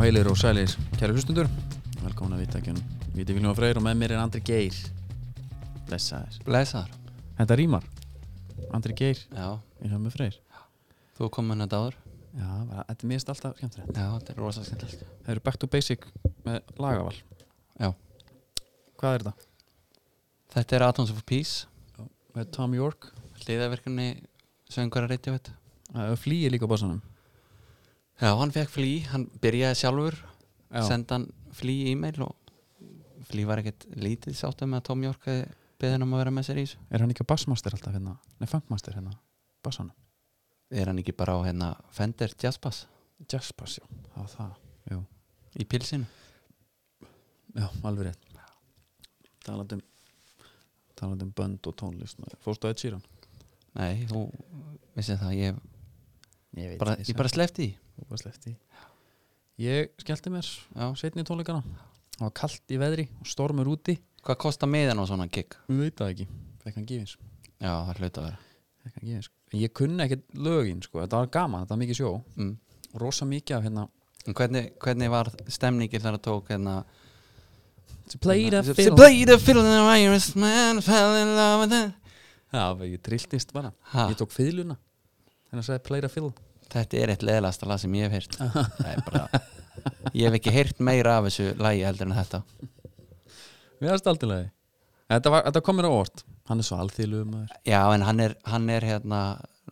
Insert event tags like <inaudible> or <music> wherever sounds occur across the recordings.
heilir og sælir, kæri hlustundur Velkomin að vita ekki hann Viti Viljum Freyr og með mér er Andri Geir Blessaður Blesaður Þetta rýmar Andri Geir Já, Ég hef með Freyr þú kom með þetta áður Já, bara, þetta er mist alltaf skemmtilegt Já, þetta er rosa skemmtilegt Það eru back to basic með lagaval Já. Hvað er þetta? Þetta er Atoms of Peace Með Tom York Hliðaverkunni söngvara Radiohead Það er flýið líka á bossanum Já, hann fekk flý, hann byrjaði sjálfur Já. sendi hann flý e-mail og flý var ekkert lítið sáttum með að Tom York hefði beðið hann um að vera með sér í þessu Er hann ekki á bassmaster alltaf hérna? Nei, funkmaster hérna Bassanum Er hann ekki bara á hérna Fender Jazz Bass Jazzbass, já Það var það í pilsinu? Já, alveg rétt Talandum Talandum um- bönd og tónlist Fórstu að Ed Sheeran? Nei, þú vissið það, ég Ég sko. bara, ég bara slefti í Þú bara sleppti Ég skellti mér Já, setni tónleikana Það var kallt í veðri og stormur úti hvað kostar miðan á svona gig? Við veit það ekki Fekk hann gífins Já, það hlaut að vera Fekk hann gífins En ég kunni ekkert lögin sko Þetta var gaman, þetta var mikið sjó mm. Og rosa mikið af hérna En hvernig, hvernig var stemningin þegar það tók hérna Hérna- Played a She played a fiddle and an Irish man fell in love with her Já, bara ég trilltist bara ha, Ég tók fiðluna Þannig að sagði played a fiddle Þetta er eitt leðlasta lag sem ég hef heyrt <laughs> Það er bara Ég hef ekki heyrt meira af þessu lagi heldur en þetta Við erum staldilegi Þetta, var, þetta kom mér á orð Hann er svo alþýðlegu maður Já en hann er, hann er hérna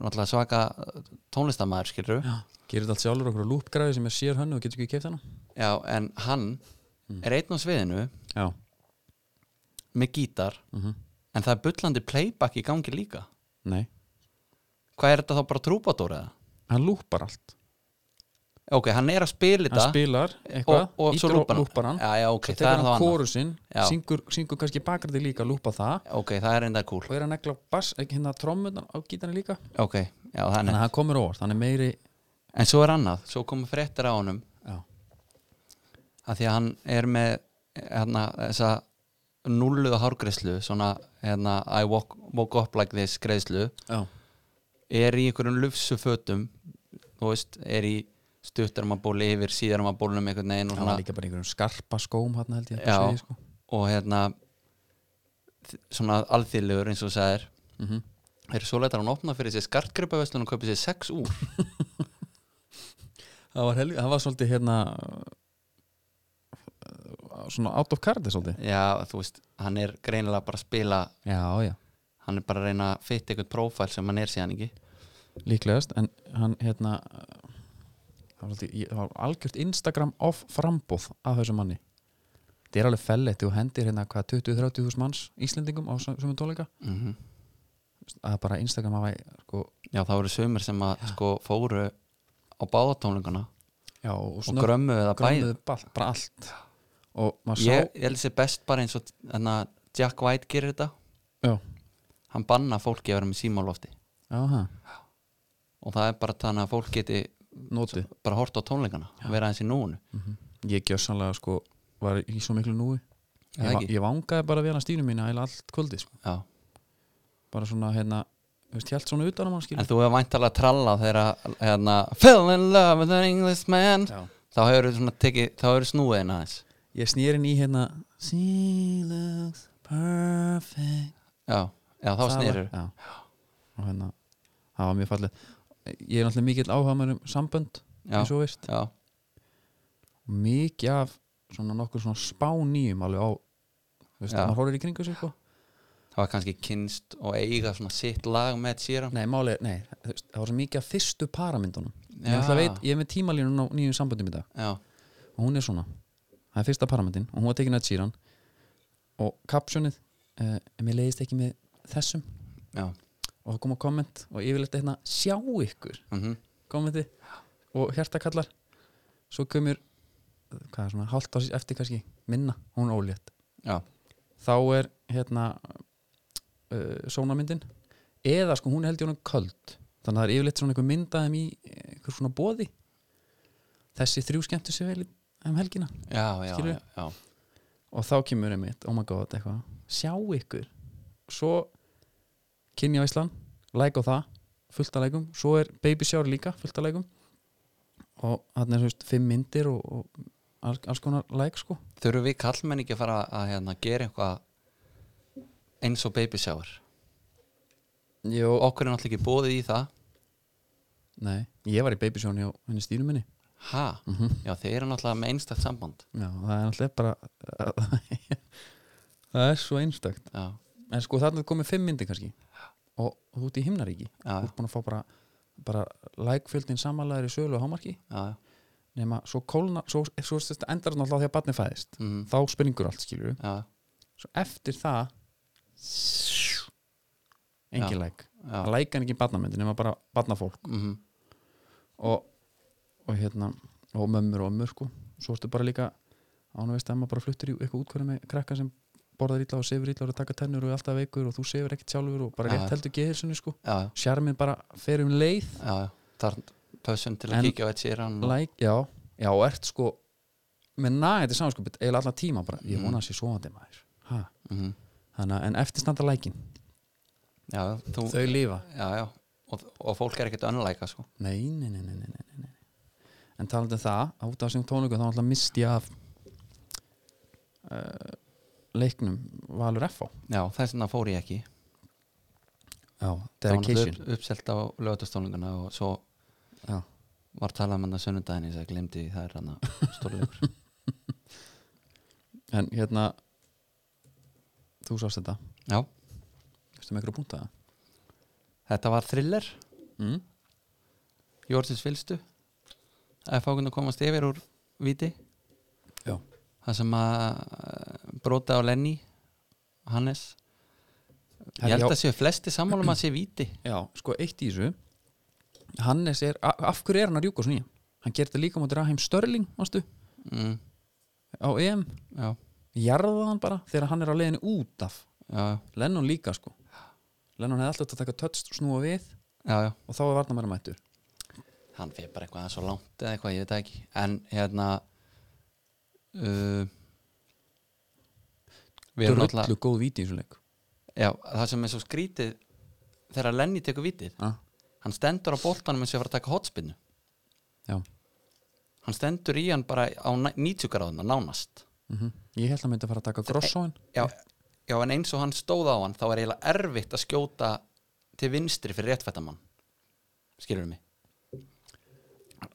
náttúrulega svaka tónlistamæður skilur Já Gerir þetta allt sjálfur okkur á lúpgræði sem er sér hönnu og getur ekki keift hana Já en hann er einn á sviðinu Já með gítar mm en það er bullandi playback í gangi líka Nei Hvað er þetta þá bara trúbadór eða? Hann lúpar allt Ok, hann er að spila Hann þetta spilar eitthvað og, og svo ýtir á lúpar hann, lúpar hann Já, já, ok, svo það tekur er þá hann annað kórusinn Já. syngur, syngur kannski bakræði líka að lúpa það Ok, það er enda cool og er að negla bass, ekki hérna trommunar á gítarni líka Ok, já, þannig þannig að það komur óvart, hann er meiri En svo er annað, svo komu fréttir á honum já, að því að hann er með hérna, þessa nulluðu hárgreislu svona hérna, I walk, walk up like this greislu já, er í einhverjum lufsu fötum þú veist, er í stuttarmaból yfir síðarmabólnum einhvern veginn og, hann var svona, líka bara í einhverjum skarpa skóm hann held ég Já. þetta sviði, sko. og hérna þ- svona alþýðlegur eins og sagðir mm -hmm. er svo leitt að hann opna fyrir sér skartgripaveslun og kaupi sér sex úr það, var helg, það var svolítið hérna uh, svona out of card svolítið já, þú veist, hann er greinilega bara að spila já, já, hann er bara að reyna að fitta eitthvað prófæl sem hann er síðan ekki líklegast en hann hérna uh, það var, svolítið, ég- það var algjört Instagram off frambóð af þessu manni þetta er alveg fellið, þú hendir hérna hvað 20-30 þús manns Íslendingum á sömum tónleika mm að bara Instagram hafa sko, Já, það voru sömur sem að sko fóru á báðatónlinguna já, og og grömmuðu það bæði grömmuðu ball, bara allt og maður sá Ég, ég held sér best bara eins og hana, Jack White gerir þetta já, hann banna fólki að vera með símálofti já, ha, og það er bara þannig að fólk geti notið Mhm. bara hort á tónlingana og vera eins í núinu ég gjössanlega sko var í svo miklu núi Já, ég, va- ekki. ég vangaði bara við hana stínu mína eða allt kvöldið sko. Já. bara svona hérna þú veist, hjælt svona utan um á mann skilur En þú hefur væntalega tralla þegar hérna, Fell in love with an Englishman Já. þá hefur svona tekið, þá hefur snúiðin aðeins ég snýrin í hérna She looks perfect Já, já Það þá var- snýrur já. og hérna það var mjög fallið ég er náttúrulega mikill áhuga mér um sambönd Já, eins og þú veist já, mikið af svona nokkur svona spánýjum alveg á þú veist, Já. maður horfir í kringu sig sko það var kannski kynst og eiga svona sitt lag með síðan nei, máli, nei, þú veist, það var svo mikið af fyrstu paramyndunum ég, Já. ætla að veit, ég er með tímalínun á nýjum samböndum í dag Já, og hún er svona, það er fyrsta paramyndin og hún var tekin að síran og kapsjónið, eh, mér leiðist ekki með þessum já og það kom að komment og yfirleitt hérna sjá ykkur mm kommenti og hjartakallar svo kemur hvað er svona, hálft ás eftir kannski minna, hún er ólétt Já, þá er hérna uh, sónamyndin eða sko hún held í honum köld þannig að það er yfirleitt svona einhver mynd af þeim í einhver svona bóði þessi þrjú skemmtu sér vel í- um helgina já, já, Skilurðu? já, já. og þá kemur einmitt, oh my god, eitthvað sjá ykkur svo kynja veislan, læk á það fullt að lækum, svo er baby shower líka fullt að lækum og hann er þú veist fimm myndir og, og alls, alls konar læk sko Þurfum við kallmenn ekki að fara að hérna, gera eitthvað eins og baby shower Jó, og okkur er náttúrulega ekki bóðið í það Nei, ég var í babysjón hjá henni stýru minni ha, já þeir eru náttúrulega með einstætt samband Já, það er alltaf bara <laughs> Það er svo einstakt já, En sko þarna er komið fimm myndir kannski og, og þú ert í himnaríki já, Þú já, ert búin að fá bara, bara lækfjöldin samanlegar í sölu og hámarki já, já. nema svo kólna, svo, svo er þetta endar náttúrulega því að barni fæðist Mm, þá springur allt skilur já, svo eftir það engin læk já. það lækan ekki barnamyndin nema bara barnafólk Mm, og, og hérna og mömmur og ömmur sko svo ertu bara líka án og veist að maður bara fluttur í eitthvað útkvæða með krakka sem borðar illa og sefur illa og er að taka tennur og er alltaf veikur og þú sefur ekkert sjálfur og bara Já, rétt já. heldur geðilsunni sko já, já, sjarmin bara fer um leið já, já. þar pössun til að En- kíkja á eitt sér hann like, já, já og ert sko með nægði samskupið eiginlega allan tíma bara, ég vona að sé svoandi maður ha, mm, þannig að en eftirstanda lækin já, já, þú þau lifa já, já, og, og fólk er ekkert önnuleika sko. nei, nei, nei, nei, nei, nei, nei, nei. en talandi um það, á út af þessum tónleikum þá alltaf misti ég af uh, leiknum Valur F.A. já, þess vegna fór ég ekki Já, Það var náttúrulega dedication upp, uppselt á lögatastónlinguna og svo Já. var talað með það sunnudaginn ég sagði glemdi því, það er hann að stórleikur <laughs> en hérna þú sást þetta, já, veistu með ykkur að búnta það þetta var thriller mm? Jórsins vilstu að fákunni komast yfir úr viti Já. það sem að eh, brota á Lenny Hannes ég Herra, held já. að séu flesti sammálum að sé viti Já, sko eitt í þessu Hannes er, a- af hverju er hann að rjúka svona í hann? Hann gerði þetta líka mútið Raheim Störling mástu, mm, á EM já, jarðaði hann bara þegar hann er á leiðinni út af já, Lennon líka sko Lennon hefði alltaf átt að taka tötst snúa við já, já og þá er varnamæri mættur hann fyrir bara eitthvað svo langt eða eitthvað, ég veit það ekki en hérna uh, við erum drullu náttúrulega góð víti í þessum leik já, það sem er svo skrítið þegar Lenny tekur vitið Ha? hann stendur á boltanum eins og ég var að taka hotspinnu Já. hann stendur í hann bara á næ- 90 gráðuna nánast Mm ég held að hann myndi að fara að taka grossóin já, já, en eins og hann stóð á hann þá er eiginlega erfitt að skjóta til vinstri fyrir réttfættamann skilur mig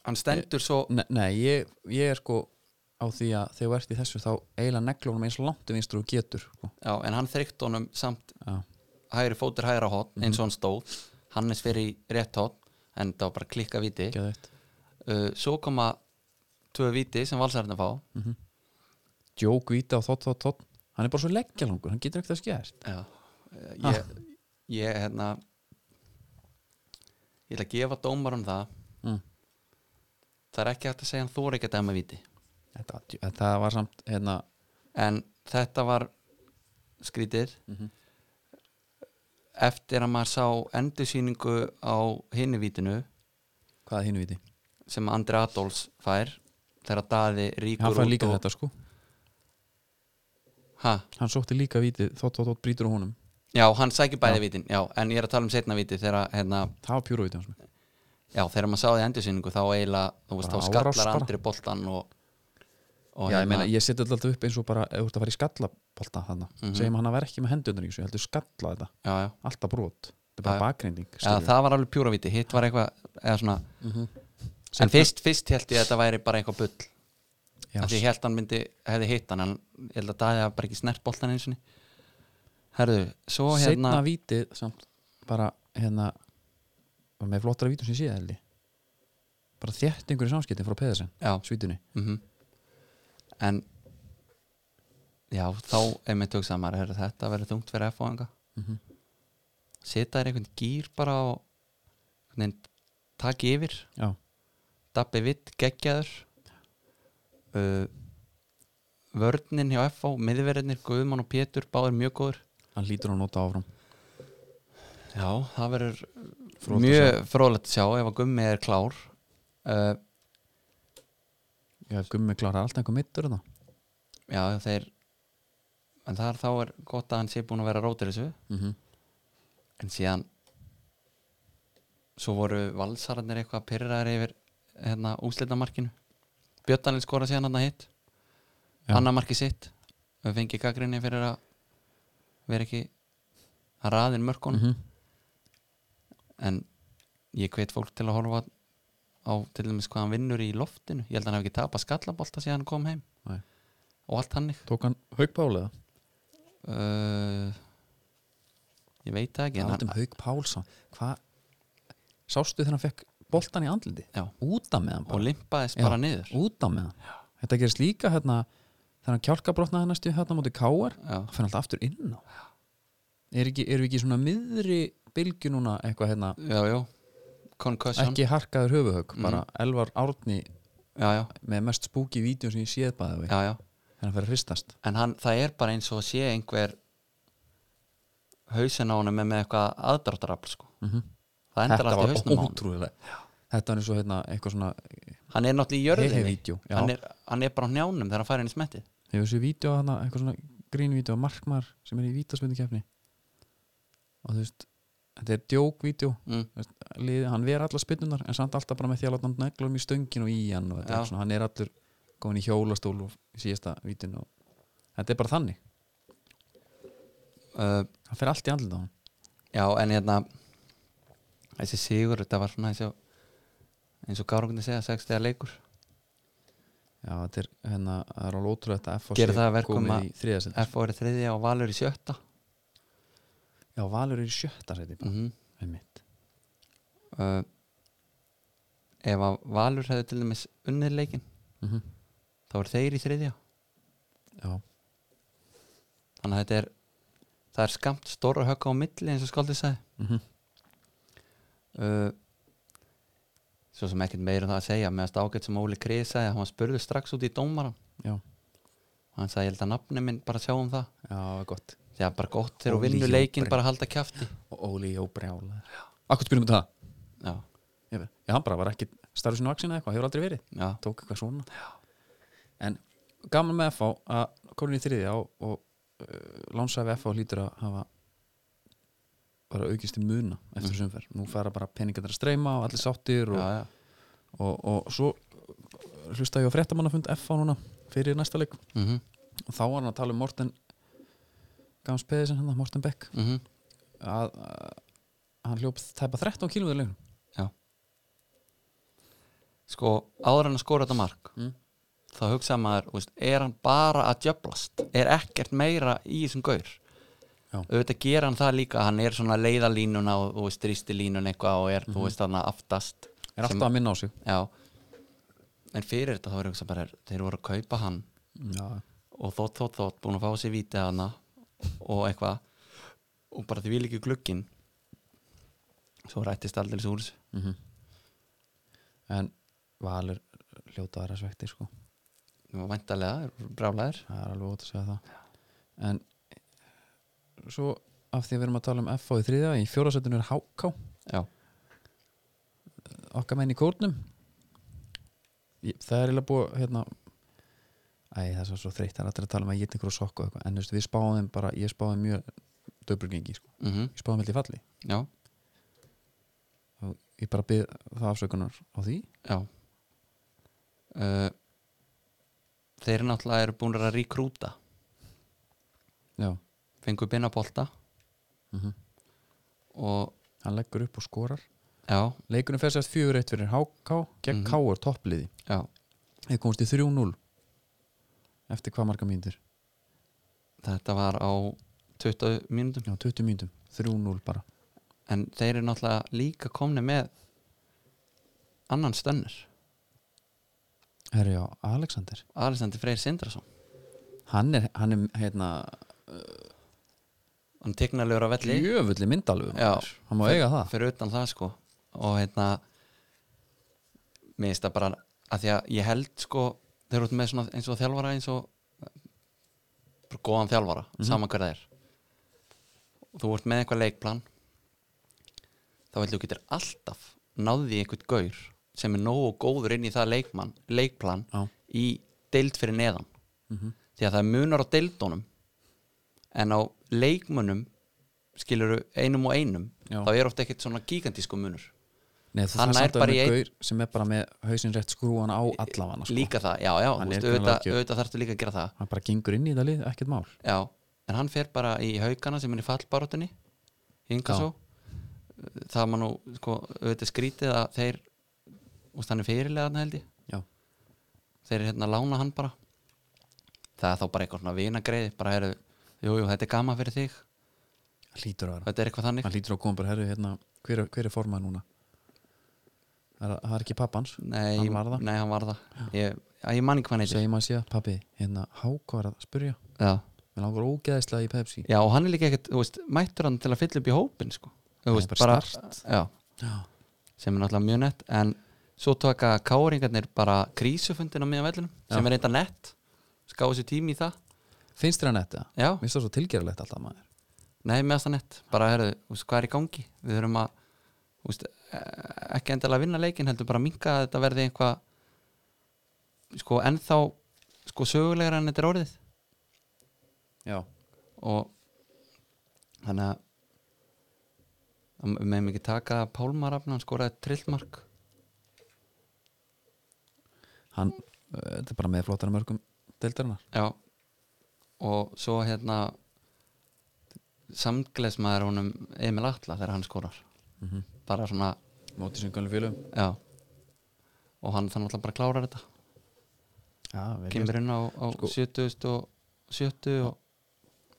hann stendur svo ne nei, ég, ég er sko á því að þegar þú ert í þessu þá eiginlega neglunum eins langt um einstur og þú getur sko. já, en hann þrykkt honum samt Já. hægri fótur hægra hot eins og hann stóð Hannes fyrir í rétt hot en það var bara klikka viti Geðveikt. uh, svo koma tvö viti sem valsarðin fá Mhm. djók víti á þótt, þótt, þótt hann er bara svo leggja langur, hann getur ekkert að skjæst já, eh, ég, ég hérna ég ætla að gefa dómarum það Mm. það er ekki hægt að segja hann þóra ekki að dæma viti þetta, var djó- þetta var samt hérna, en þetta var skrítir Mhm. eftir að maður sá endursýningu á hinu vítinu hvað er hinu víti? sem Andri Adolfs fær þegar daði hann ríkur fær líka þetta sko ha, hann sótti líka víti, þótt, þótt, þótt, brýtur á honum já, hann sækir bæði vitin já, en ég er að tala um setna viti þegar, hérna, það var pjúru víti hans með já, þegar maður sá því endursýningu þá eiginlega, þú veist, Bara þá árás skallar bara. Andri boltan og, og hérna- Já, ég, meina, ég seti alltaf upp eins og bara ef þú ert að fara í skallapolta þarna Mhm. segjum hann að vera ekki með hendunar í þessu, heldur skalla þetta já, já, alltaf brot, þetta er bara ja. Já, já. bakreinding já, það var alveg pjúra viti hitt var eitthvað, eða svona Mhm. en fyrst, fyrst held ég að þetta væri bara eitthvað bull já, af því ég held hann myndi, hefði hitt hann en ég held að Daði hafi bara ekki snert boltan eins og herðu, svo setna hérna vítið samt bara hérna var með flottara vítum sem ég sé held ég bara þéttingur í samskiptin frá Peðarsen já, svítunni mm en já, þá er mér tjóksað maður er þetta verið þungt fyrir F-fóðinga mm sita þér einhvern gýr bara og einhvern veginn takk yfir já, Dabbi Vitt, geggjaður uh, vörnin hjá F-fó, miðverðinir Guðmann og Pétur, báður mjög góður hann lítur að nota áfram já, það verður Fróðlegt að mjög fróðlegt að sjá ef að Gummi er klár uh, já, gummi klárar alltaf einhver mittur þetta já, þeir en þar þá er gott að hann sé búin að vera rótir þessu mm -hmm. en síðan svo voru valsararnir eitthvað pyrraðar yfir hérna, úslitamarkinu Björn Daniel skora síðan hann að hitt Já. annar marki sitt við fengið gaggrinni fyrir að vera ekki að raðin mörkunum Mhm. en ég hvet fólk til að horfa á til dæmis hvað hann vinnur í loftinu ég held að hann hef ekki tapað skallabolta síðan hann kom heim Nei. og allt hannig Tók hann Hauk Pál eða? uh, ég veit það ekki en hann, Átum um Hauk Pálsson Hvað? Sástu þegar hann fekk boltan í andliti? Já. Úta með hann og bara limpaðist Já. bara niður Úta með hann Þetta gerist líka hérna Þegar hann kjálkabrotnaði næstu hérna móti Káar já, Það fann alltaf aftur inn á er ekki, Erum við ekki í svona miðri bylgju núna eitthvað hérna já, já concussion Ekki harkaður höfuhög Mhm. Bara Elvar Árni já, já, með mest spooky vídeo sem ég séð bæði við já, já. Þegar hann fyrir að hristast en hann, það er bara eins og sé einhver hausin á honum með, með eitthvað aðdráttarafl sko. Mhm. það endar Þetta alltaf í var hausnum á honum ótrúlega Þetta var eins og hérna eitthvað svona hann er náttúrulega í jörðinni Hehe-vídeó, já. hann er, hann er bara á njánum þegar hann fær inn í smetti Hefur þessu vídeo hana, eitthvað svona grínvídeó markmar sem er í vítaspindikefni og þú veist þetta er djókvídeó mm. liðið- hann ver allar spinnunar en samt alltaf bara með því að láta hann neglum í stöngin og í hann og þetta Já. er svona, hann er allur komin í hjólastól og í síðasta vítin og þetta er bara þannig uh, hann fer allt í andlut á hann já, en hérna þessi sigur, þetta var svona eins og eins og Gárungunni segja, sex þegar leikur Já, þetta er hérna, það er alveg ótrúlega þetta F Gerir það að verkum að- í þriða seti F.O. er í þriðja og Valur í sjötta Já, Valur er í sjötta seti mm einmitt. uh, ef að Valur hefði til dæmis unnið leikinn Mhm. þá er þeir í þriðja Já, þannig að þetta er það er skamt stóra högg á milli eins og skaldið sagði Mhm. uh, svo sem ekkert meira um það að segja meðast ágætt sem Óli Krið sagði hann var spurður strax út í dómaran Já. og hann sagði ég held að nafni minn bara sjá um það já, gott því að bara gott þegar þú Óli vinnur Jó leikinn Brynn. bara halda kjafti og Óli Jó brjála Akkur spyrum við um það já, Ég veit, já, hann bara var ekki starfið sinna vaksin eða eitthvað, hefur aldrei verið, já, tók eitthvað svona já. en gaman með FH að komin í þriðja og, og uh, lánsafi FH lítur að hafa bara aukist í muna eftir mm. Mm. sumfer, nú fara bara peningarnir að streyma og allir sáttir og, já, já. og, og, svo uh, hlusta ég á fréttamannafund FH núna fyrir næsta leik Mm -hmm. og þá var hann að tala um Morten Gams Pedersen hann, Morten Beck Mm að, að hann hljóp tæpa 13 kílóður leikunum sko áður en að skora þetta mark Mm. þá hugsa maður, þú veist, er hann bara að djöblast, er ekkert meira í þessum gaur Já. auðvitað gera hann það líka, hann er svona leiðalínuna og, og strísti línuna eitthvað og er, Mhm. þú veist, þarna aftast er alltaf að minna á sig já en fyrir þetta þá er hugsa bara, þeir voru að kaupa hann já, og þótt, þótt, þótt, búin að fá sér vítið hana og eitthvað og bara því vil ekki glukkin svo rættist aldrei úr þessu mm en Valur hljóta aðra svekti sko. og væntalega, brálaðir það er alveg ótt að segja það en svo af því að við erum að tala um FH í þriðja í fjórasettinu er HK já, okkar menn í kórnum Ég- það er eiginlega búið hérna Æ, það er svo- svo þreytt, það er allir að tala um að ég tekur og sokk og eitthvað, en þú veist, við spáðum bara, ég spáði mjög döbrgengi, sko. mhm, ég spáði með í falli já, og ég bara byrð það afsökunar á því já uh, þeir náttúrulega eru búin að ríkrúta já, fengu binnabolta mm og hann leggur upp og skorar já, Leikunum fer sérst 4-1 fyrir HK gegn mm Mhm. KR toppliði já, Þeir komast í 3-0 eftir hvað marga mínútur? þetta var á 20 mínútum Já, 20 mínútum, 3-0 bara en þeir eru náttúrulega líka komni með annan stönnur Herri já, Alexander Alexander Freyr Sindrason Hann er, hann er hérna hann tegnalegur á velli jöfulli myndalöfum Já. Hann má eiga það fyrir utan það sko og hérna mér finnst það bara að því að ég held sko þeir eru út með svona eins og þjálfara eins og bara góðan þjálfara saman hver það er og þú ert með eitthvað leikplan þá heldur þú getur alltaf náðið í einhvern gaur sem er nógu góður inn í það leikmann, leikplan Já. í deild fyrir neðan Mhm. því að það munar á deildunum en á leikmönnum skilur einum og einum Já. þá er ofta ekkert svona gigantísku munur Nei, þú Hann þarf nær samt að bara vera í gaur sem er bara með hausinn rétt skrúan á allafana sko. líka það, já, já, Hann er þú veist, greinilega auðvitað, ekki- auðvitað þarftu líka að gera það hann bara gengur inn í þetta lið, ekkert mál já, en hann fer bara í haugana sem er í fallbaróttinni hinga Já. svo það maður nú, sko, auðvitað skrítið að þeir, úst, hann er fyrirlega þarna held ég, Já. þeir hérna lána hann bara það er þá bara eitthvað svona vinagreið bara eru, jú, jú, þetta er gama fyrir þig hann lítur að vera, þetta er eitthvað þannig hann lítur að koma bara herri, hérna, hver, er- hver er formað núna það er, það er ekki pappans nei, Hann var það? nei, hann var það ég, að ég man ekki hvað hann heitir segir maður síðan, pappi, hérna Háko er að spyrja, já. við langar ógeðislega í Pepsi já, og hann er líka ekkert, þú veist, mættur hann til að fylla upp í hópin, sko Þú Nei, veist, bara já, já, sem er náttúrulega mjög nett en svo taka káringarnir bara krísufundin á miðan vellinum Já. sem er eitthvað nett skáðu sér tími í það finnst þér hann þetta? já, mér finnst það svo tilgerulegt alltaf maður nei, meðast það nett bara, herðu, úst, hvað er í gangi við þurfum að úst, ekki endilega að vinna leikin heldur bara að minka að þetta verði eitthvað sko ennþá sko sögulegra en þetta er orðið já, og þannig að að við meðum ekki taka sko, Pálmarafn, hann skoraði trillmark hann, eh, þetta er bara með flottara mörgum deildarinnar Já og svo hérna samgleðsmaður honum Emil Atla þegar hann skorar mm bara svona, mótið sem gönlu félum já og hann þannig alltaf bara klárar þetta já, vel gert. kemur inn á, á Sko- 70 og 70 og,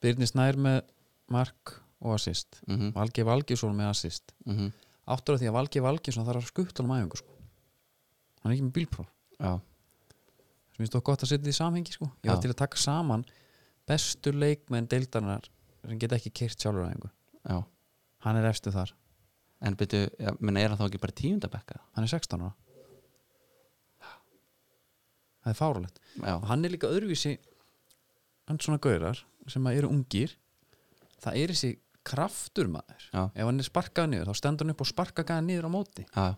Birnir Snær með mark og assist mhm, mhm. Valgi Valgjesson með assist áttur af því að Valgi Valgjesson þarf að skutta um æfingu sko. hann er ekki með bílpróf já, sem finnst þó gott að setja því samhengi sko. ég var Já. til að taka saman bestu leikmenn deildarinnar sem geta ekki kert sjálfur æfingu já hann er efstu þar, en byrju, já, menna er hann þá ekki bara tíundabekka hann er 16 ára það er fáralegt já, og hann er líka öðruvísi hann er svona gaurar sem að eru ungir það er þessi kraftur maður Já. ef hann er sparkað niður þá stendur hann upp og sparkað gæða niður á móti já,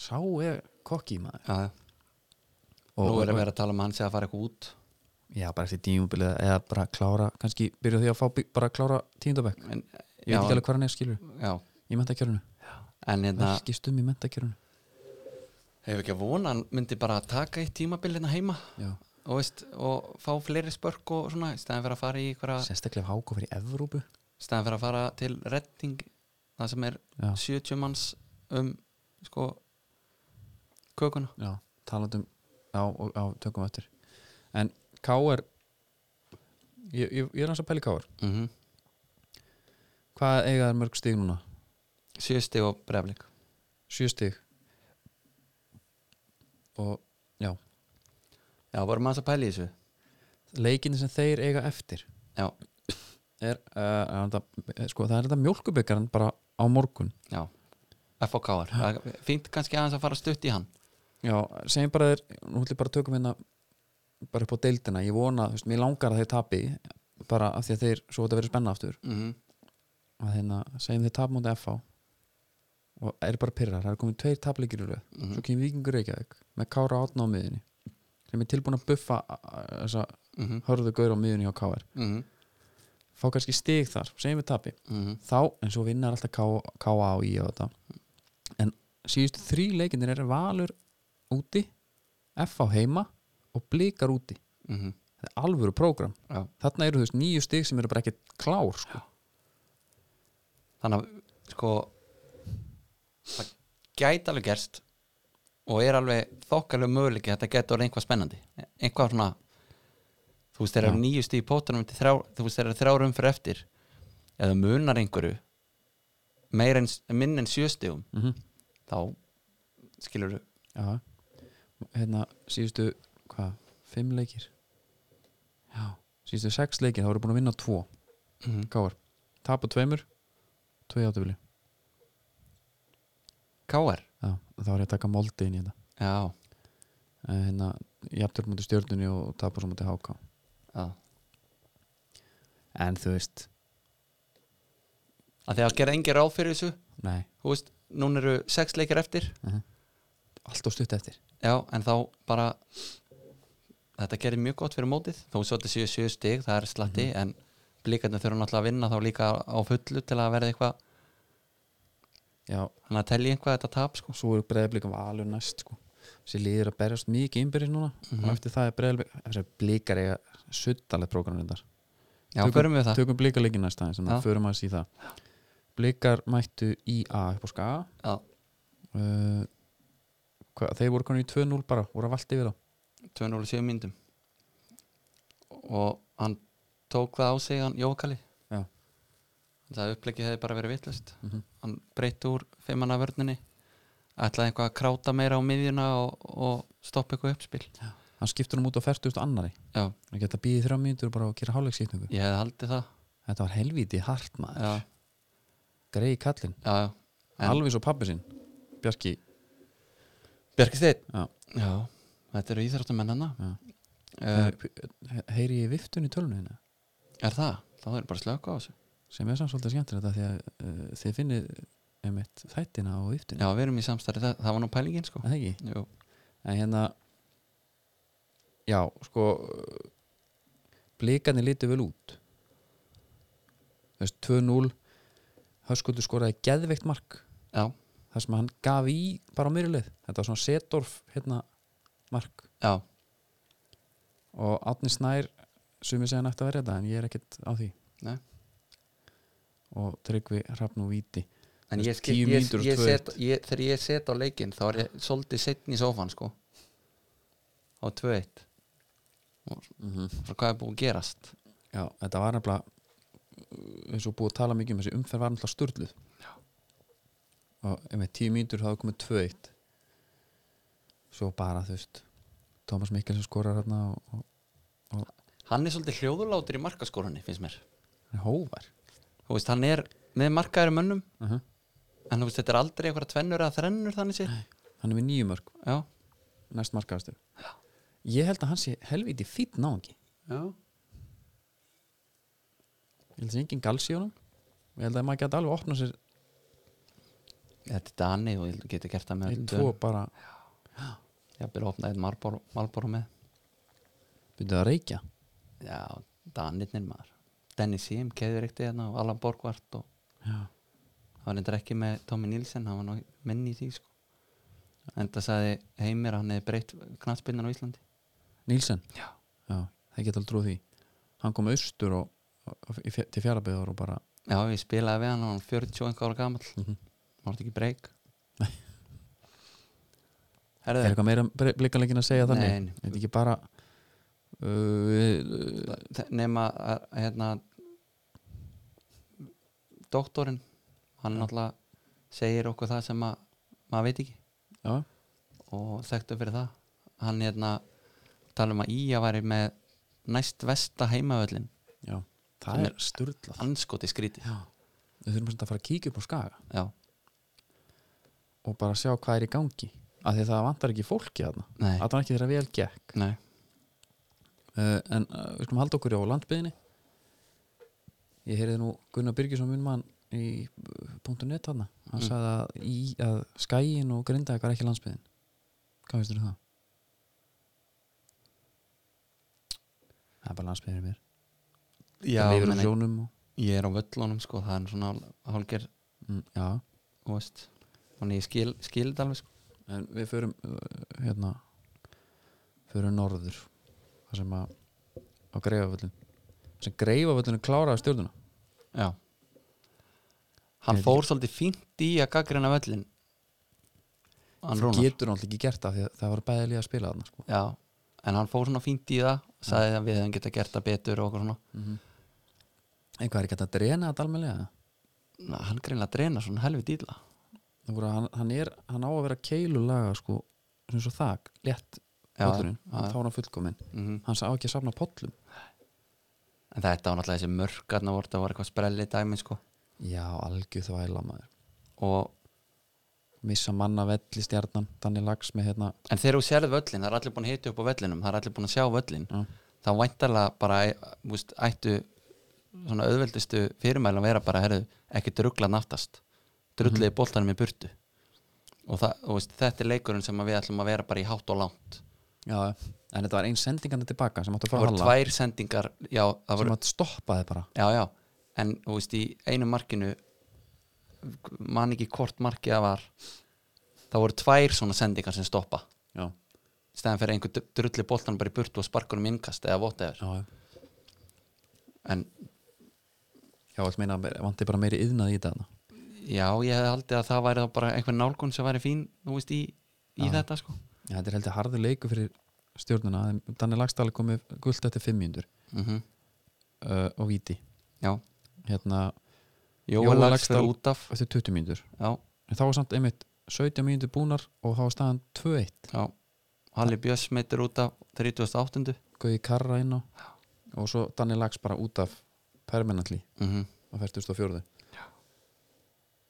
sá er kokki maður já nú er að vera að tala um að hann sé að fara eitthvað út já bara eftir tímubilið eða bara klára kannski byrja á því að fá bí- bara klára tíundabæk en, ég um- veit já, ekki alveg hvað hann er skilur já, í mentakjörunu en hérna verkist um í mentakjörunu hefur ekki að vona, hann myndi bara taka eitt tímabil hérna heima já og, veist, og fá fleiri spörk og svona, í staðan fyrir að fara í einhverja sérstaklega háka fyrir Evrópu í staðan fyrir að fara til redding það sem er já 70 manns um sko kökuna já talandum já og já tökum við öttir en K.R. ég, ég, ég er hans að pæli K.R. mm Hvað eiga þær mörg stig núna? sjösti og breflik Sjö stig og já, vorum aðeins að pæla í þessu leikinni sem þeir eiga eftir Já. er, uh, er þetta, sko, það er þetta mjólkubikaran bara á morgun FOKR, Það er fínt kannski aðeins að fara stutt í hann Já, segjum bara þeir, nú ætlum ég bara að tökum hérna bara upp á deildina, ég vona, þú veist, mér langar að þeir tapi bara af því að þeir, svo þetta verið spenna aftur mm að hérna, segjum þeir tap mútið FH og er bara pyrrar, það er komin tveir tapleikir úr röð svo -hmm. kemur Víkingur Reykjavík með Kára átna á miðinni sem er tilbúin að buffa a- a- þessa mm -hmm. hörðu gaur á miðunni á KR mm fá kannski stig þar, segjum við tapi -hmm. þá, en svo vinnar alltaf K- KA og í og þetta en síðustu þrý leikindir er Valur úti FH heima og Blikar úti Mm -hmm. það er alvöru prógram, Já. þarna eru þú veist nýju stig sem eru bara ekki klár sko. þannig að sko það gæti alveg gerst og er alveg þokkalega möguleiki að þetta gæti orðið einhvað spennandi einhvað svona þú veist þeir eru Já. nýju stíð í pótunum til þrjá, þú veist þeir eru þrjárum fyrir eftir eða munar einhverju meir en, minn en sjöstíðum mm -hmm. þá skilur já hérna síðustu, hvað, fimm leikir já, síðustu sex leikir þá eru búin að vinna tvo þú KR, tapa tveimur tvei átöfili, K.R. já, þá er ég að taka moldi inn í þetta Já, Eh, hérna, jafntöld mútið stjörnunni og tapa svo mútið háká já en þú veist, að því að gera engi ráð fyrir þessu nei þú veist, núna eru sex leikir eftir allt og stutt eftir Já, en þá bara þetta gerir mjög gott fyrir mótið þó svo þetta séu sjö stig, það er slatti en blíkarnir þurfa náttúrulega að vinna þá líka á fullu til að verða eitthvað já, þannig að telji einhvað þetta tap sko. svo er breyðablík valur næst sko. þessi liður að berjast mikið innbyrðis núna Mhm. og eftir það er breyðablík þessi blíkar eiga suttaleg prógramrindar já, Tökum- förum við það tökum blíkarleikin næst aðeins þannig Já. að förum að í það blíkar mættu í A upp á skaga Já. uh, hva, þeir voru konið í 2-0 bara voru að valdi við þá 207 myndum og hann tók það á sig hann Jókali Já. það upplegið hefði bara verið vitlust Mhm. hann breytti úr fimmana vörninni ætlaði eitthvað að kráta meira á miðjuna og, og stoppa eitthvað uppspil hann skiptur hann út á 40.000 annari já, hann geta býðið þrjá mínútur og bara að gera hálfleiksýtningu ég hefði haldið það þetta var helviti hart maður já, greið kallinn, já, já. En- alveg svo pabbi sinn Bjarki Bjarki Steinn Já. já, þetta eru hérna. íþróttamennana Já. uh, He- eh, heyri ég viftun í tölunni hérna er það? þá er bara slöku á þessu sem er samt svolítið skemmtilegt að því að uh, þið finnið einmitt þættina á viftun já, við erum í samstarfi, það, það var nú pælingin sko. það ekki, Jú. en hérna já, sko uh, blikarnir lítið vel út þú veist, 2-0 höskuldur skoraði geðveikt mark já, þar sem hann gaf í bara á myrjuleið þetta var svona setorf hérna mark já, og Átni Snær sumið segja nætti að verja þetta en ég er ekkert á því Nei. og Tryggvi Hrafn og Víti En Þú ég, veist, skil, tíu ég, mínútur og ég tvö set, ég, þegar ég set á leikinn þá er ég svolítið setn í sófan sko á 2-1 Mhm. frá hvað er búið að gerast Já, þetta var nefnilega mm, eins og búið að tala mikið um þessi umferð var náttúrulega sturluð og ef með tíu mínútur þá er komið 2-1 svo bara þú veist Tómas Mikkelsen skorar hérna og, hann er svolítið hljóðulátur í markaskórunni finnst mér, og hóvar þú veist hann er með markaðari mönnum uh -huh. en þú veist þetta er aldrei eitthvað tvennur eða þrennur þannig sér hann er með nýju mörg, já, næst markaðastur ég held að hann sé helviti fýtt náðingi já, ég held að sé engin gals í honum ég held að maður geti alveg opnað sér þetta er Dani og þú getur gert það með einn, tvo bara ég byrja að opna eitt Marlboro, Marlboro með byrjuð að reykja já, Danirnir maður Dennis Sim, keður eitt eða og Alan Borgvart og Já. Það var reyndar ekki með Tommy Nilsen, hann var nú menn í því sko. En það sagði Heimir að hann hefði breytt knatspinnan á Íslandi. Nílsen, Já. já, það geta alveg trúið því hann kom austur og, og, í fj- til fjarabyðar og bara Já, ég spilaði við hann og hann var 40 og einhver ára gamall. Mm Mhm. Hann var ekki breyk. er Herðu, eitthvað meira blikanleikin að segja þannig Nei, nei. þetta er ekki bara uh, það- nema að, hérna doktorinn, hann náttúrulega segir okkur það sem að maður veit ekki já, og þekktu fyrir það. Hann hérna tala um að Ía væri með næst vesta heimavöllin já, Sem það er sturlað anskoti skríti já, við þurfum samt að fara að kíkja upp á skaga Já, og bara sjá hvað er í gangi af því að það vantar ekki fólki þarna nei, að það er ekki þeirra vel gekk nei uh, en uh, við skulum halda okkur á landsbyðinni ég heyrði nú Gunnar Byrgisson minn mann í eh, punktu net hann hann Mm. sagði að, í, að skæin og grindaðik var ekki landsbyðin hvað finnst þér um það? það er bara landsbyðin mér Já, það lifir á meni, sjónum og, um ég er á völlunum sko, það er svona hálger mm, já, þú veist, þannig ég skil, skil þetta alveg sko. en við förum uh, hérna förum norður það sem að á greifaföllin það sem greifaföllin kláraði stjórnuna Já Hann Ég veit fór svolítið fínt í að gaggrina völlin Hann rúnar getur náttúrulega ekki gert það því að það var bæði liða að spila þarna sko. Já, en hann fór svona fínt í það sagði að við hefum getað gert það betur og okkur svona en hvað er ekki hægt að drena þetta almennilega Na, Hann greinlega drenar svona helvið dýla Það voru að hann, hann, er, hann á að vera keilulaga sko, sem svo þak, létt Já, völlurinn, já. hann þá er hann fullkominn mm hann sá ekki að safna pollum En þetta var náttúrulega þessi mörkarna voru það var eitthvað sprelli dæmi sko já, algjöð þvæla maður og, missa manna vell í stjarnan, þannig lags með hérna En þegar þú sérð völlin, það er allir búin að hita upp á völlinum það er allir búin að sjá völlin já, þá væntarlega bara múst, ættu svona auðveldustu fyrirmæli að vera bara herðu, ekki drugla naftast Mhm. drulliði mm boltanum í burtu og, það, og veist, þetta er leikurinn sem að við ætlum að vera bara í hátt og langt já, en þetta var ein sendingandi tilbaka sem áttu að það fara voru að halla tvær sendingar já, það sem voru, áttu stoppaði bara já, já, en þú veist, í einu markinu man ekki hvort markið það var það voru tvær svona sendingar sem stoppa já, í stæðan fyrir einhver dru- drulli boltan bara í burtu og sparkunum innkast eða whatever já, já. en já allt meina að vanti bara meiri yðnað í þetta þarna. já, ég hefði haldið að það væri þá bara einhver nálgun sem væri fín, þú veist, í, í Já. þetta sko já, þetta er heldur harður leiku fyrir stjórnuna Danni Lagstall komið gult eftir 500 mm uh, og viti já, hérna Jóel Jóel Lagstar Laxdal- út af eftir 20 mínútur já, en þá var samt einmitt 17 mínútur búnar og þá var staðan 2-1 já Halli Björns meitir út af 38. Gauði Karra inn á og svo Danni Lags bara út af permanently Mm -hmm. á 44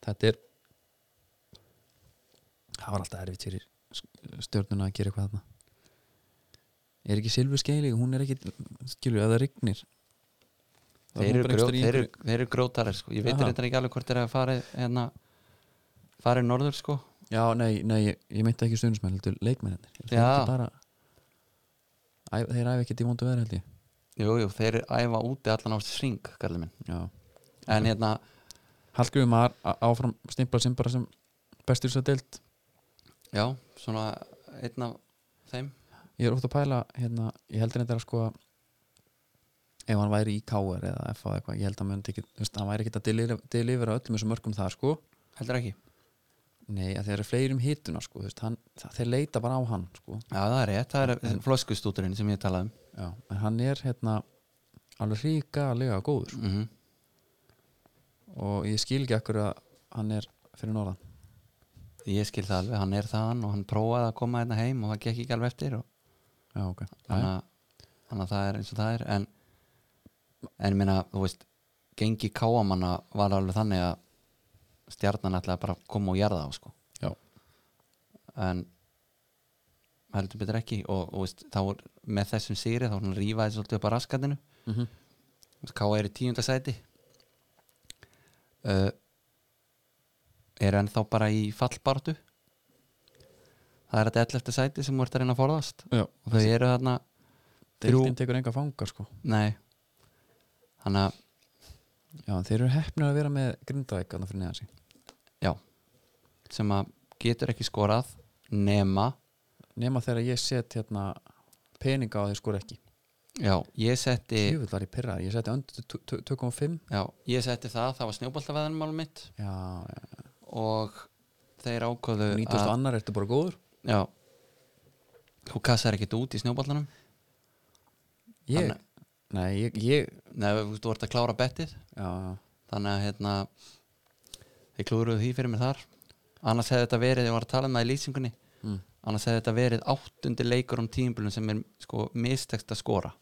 þetta er það var alltaf erfitt fyrir s- stjörnuna að gera eitthvað þarna er ekki Silvi Skeili hún er ekki, skilur, ef það rignir þá er þeir, hún eru bara einhvers grjó, staðar í þeir, einhverju- eru- þeir eru grótarir sko. ég veit Aha. þetta ekki alveg hvort þeir eru að fara hérna, fara norður sko. Já, nei, nei, ég, ég meinti ekki stundismenn heldur leikmennir Já. bara... Æ, Þeir æfi ekkert í vondu veður held ég jú, jú, þeir eru æfa úti allan ást sring kallar minn, Já en hérna Hallgrífum maður á- áfram stimplar sem bara sem bestur svo deilt já, svona einn af þeim Ég er út að pæla, hérna, ég heldur þetta að sko að ef hann væri í KR eða FA eða eitthvað, ég held að hann myndi ekki þú veist, hann væri ekkert að delivera, delivera öllum þessum mörgum það sko, heldur ekki, nei, að þeir eru fleiri um hituna sko, þú veist, hann, það, þeir leita bara á hann sko, já það er rétt það er floskustúturinn sem ég talaði um já, en hann er hérna, alveg ríkalega góður mm og ég skil ekki akkur að hann er fyrir norðan ég skil það alveg, hann er þaðan og hann prófaði að koma hérna heim og það gekk ekki alveg eftir og já, ok þannig að- þannig að það er eins og það er en en ég meina, þú veist gengi káamanna var alveg þannig að stjarnan ætlaði bara að koma og jarða á sko Já. en heldur betur ekki og, og veist, þá er, með þessum sigri þá svona rífaði svolítið upp að raskatinu mm -hmm. Káa er í tíunda sæti uh, er ennþá bara í fallbartu það er þetta 11. sæti sem þú ert að reyna að forðast já, og þau eru þarna þrjú- deildin tekur enga fangar sko Nei Þannig að, já, þeir eru hefnir að vera með grindaðik þarna fyrir neðan sín já sem að getur ekki skorað nema, nema þegar ég set hérna peninga á þeir skor ekki já, ég setti tjöfull var ég pyrraður, ég seti öndu 2,5 já, ég setti það, það var snjóboltaveðanmál mitt já, já, og þeir ákvöðu 90 að, annar ertu bara góður já þú kassar ekkert út í snjóboltanum ég, Þannig- nei, ég, ég Nei, þú þú ert að klára bettið já, já, þannig að hérna þeir klúruðu því fyrir mér þar annars hefði þetta verið, ég var að tala um það í lýsingunni mm. annars hefði þetta verið áttundi leikur um tímbilum sem er sko mistekst að skora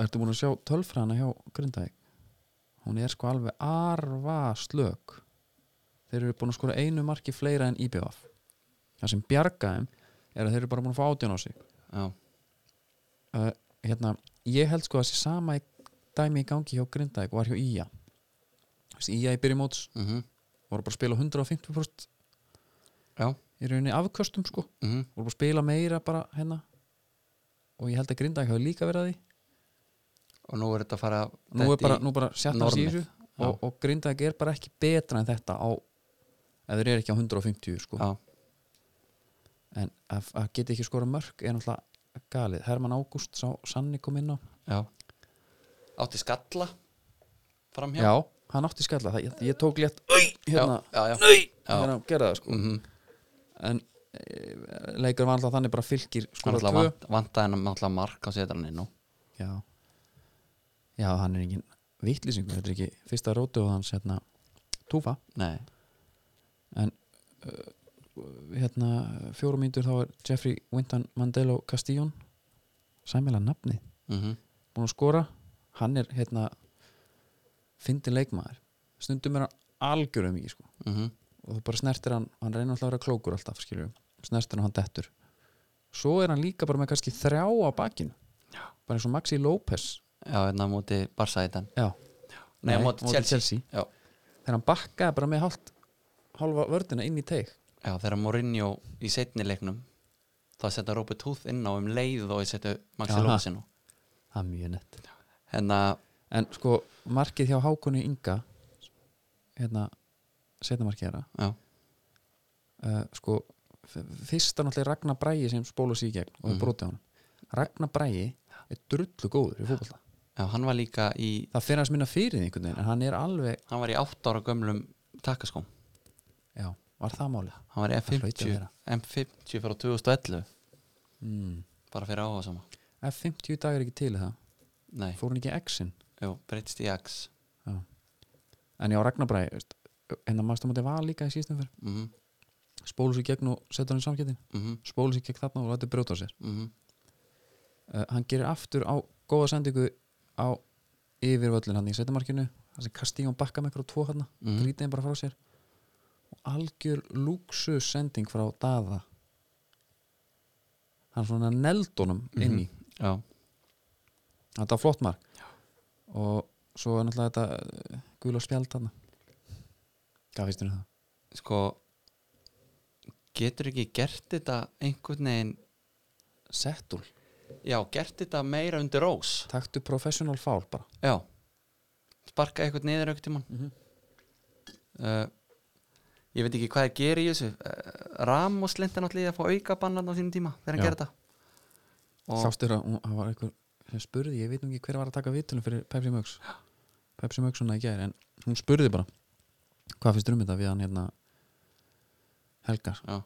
ertu búin að sjá tölfræðina hjá grindaðik hún er sko alveg arva slök þeir eru búin að skora einu marki fleira en IBF það sem bjargaðum er að þeir eru bara búin að fá átján á sig já, uh, hérna, ég held sko að þessi sama í- dæmi í gangi hjá Grindavík var hjá Ía Þessi Ía í byrjum móts mhm voru bara að spila á 150% Já. í rauninni afköstum sko mm voru bara að spila meira bara hérna og ég held að Grindavík hafi líka verið að því og nú er þetta að fara nú þetta er bara, í- nú bara sjattans í normið, þessu já. og, og Grindavík er bara ekki betra en þetta á ef þeir eru ekki á 150 sko já, en að, að geta ekki skora mörg er náttúrulega galið Herman Ágúst sá Sanni kom inn á já. átti skalla framhjá já, hann átti skalla það, ég, ég tók létt Új, hérna, já, já, já. hérna gerða það sko Mm -hmm. en e, leikur var alltaf þannig bara fylgir hann skora alltaf tvö vant, vantaði hann alltaf mark á setraninu já. já, hann er engin vittlýsingur, þetta er ekki fyrsta rótu og hans hérna, túfa nei, hérna, fjórum mínútur þá er Jeffrey Winton Mandelo Castillon sæmilega nafni, mm búin að skora hann er hérna fyndi leikmaður, stundum er hann algjörum í sko mhm. og þú bara snertir hann, hann reynir alltaf að vera klókur alltaf skiljum, snertir hann og hann dettur svo er hann líka bara með kannski þrjá á bakinu, já. bara eins og Maxi López já, hérna á móti barsætan já, nei, á móti Chelsea, Já. þegar hann bakkaði bara með hálft hálfa vördina inn í teig já, þegar Mourinho í setni leiknum þá setja Robert Huth inn á um leið og ég setja Maxi Jaha. Lófsinu það er mjög nett hérna, en sko, markið hjá Hákoni Inga hérna, setnamarkið þeirra já, uh, sko f- fyrsta náttúrulega er Ragnar Bræi sem spóla sig í gegn og Mhm. mm. brotið honum Ragnar Bræi er drullu góður í fótbolta já, hann var líka í það fyrir hans minna fyrir því einhvern veginn en hann er alveg, hann var í 8 ára gömlum takkaskóm já, var það málið hann var í Það hlaut að M50 vera. M50 frá 2011 mm. bara fyrir áhuga sama F50 í dag er ekki til í það, nei, fór hann ekki í X-in jú, breytist í X en já, Ragnar Bræi, veist, hérna, en það maður stóðum að var líka í síðustum fyrir, mhm, spóla sig í gegn og setja hann í samkettin, mhm, spóla sig í gegn þarna og lætur brjóta á sér mhm uh, hann gerir aftur á góða sendingu á yfirvöllin hann í setjumarkinu hann sem Kastíjón bakka með ykkur og tvo hann Mhm. grítið hann bara frá sér og algjör lúksus sending frá Daða hann svona neldunum inn í Mhm, Já, þetta var flott mark og svo er náttúrulega þetta eh, gul og spjald hann hvað finnst þér um það? sko getur ekki gert þetta einhvern veginn Settul, já, gert þetta meira undir rós taktu professional foul bara já, sparka eitthvað niður eitthvað tímann Mhm. uh, ég veit ekki hvað það gerir í þessu uh, Ramos lindan allir að fá auka bannan á sínum tíma þegar hann Já. gerir þetta og Sástur að hún- það var einhver sem spurði, ég veit nú ekki hver var að taka vitunum fyrir Pepsi Mögs Pepsi Mögs svona í gær, en hún spurði bara hvað finnst þér um þetta við hann hérna Helgar Já.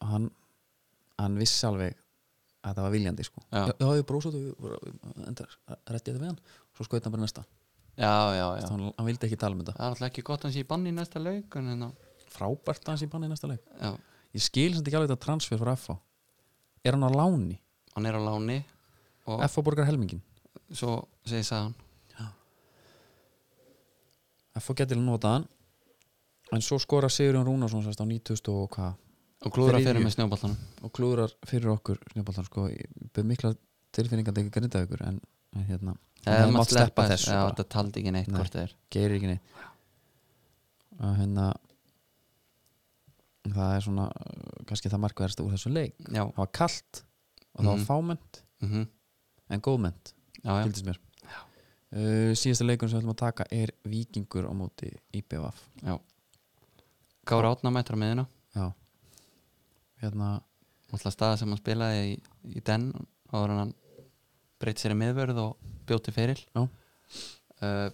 og hann, hann vissi alveg að það var viljandi sko Já. já ég brósað og endar rétti þetta við hann, svo skoði hann bara næsta já, já, já, hann, hann vildi ekki tala um þetta það er alltaf ekki gott hans í banni í næsta lauk en hérna, frábært að hans í banni í næsta leik já, ég skil sem ekki alveg þetta transfer frá FH er hann á láni, hann er á láni og FH borgar helmingin svo segir sagðan FH getur að nota hann en svo skora Sigurjón Rúnarsson sérst á 90 og hvað og klúðra Þriðju. fyrir með snjóballanum og klúðrar fyrir okkur snjóballar sko, ég beð mikla tilfinningan ekki grinda ykkur en, en hérna Það er hefði maður mátt sleppa þessu Já, bara, þetta taldi ekki neitt Nei. hvort það er gerir ekki neitt og hérna það er svona uh, kannski það markverðast úr þessu leik Já, það var kalt og það Mhm. var fámennt mm en góðmennt já, já. hildist mér uh, síðasta leikun sem við ætlum að taka er Víkingur á móti IBVF Kára átna mættur á miðina já hérna Alltaf staða sem hann spilaði í, í den áður en hann breytt sér í miðvörð og bjóti feril Já. uh,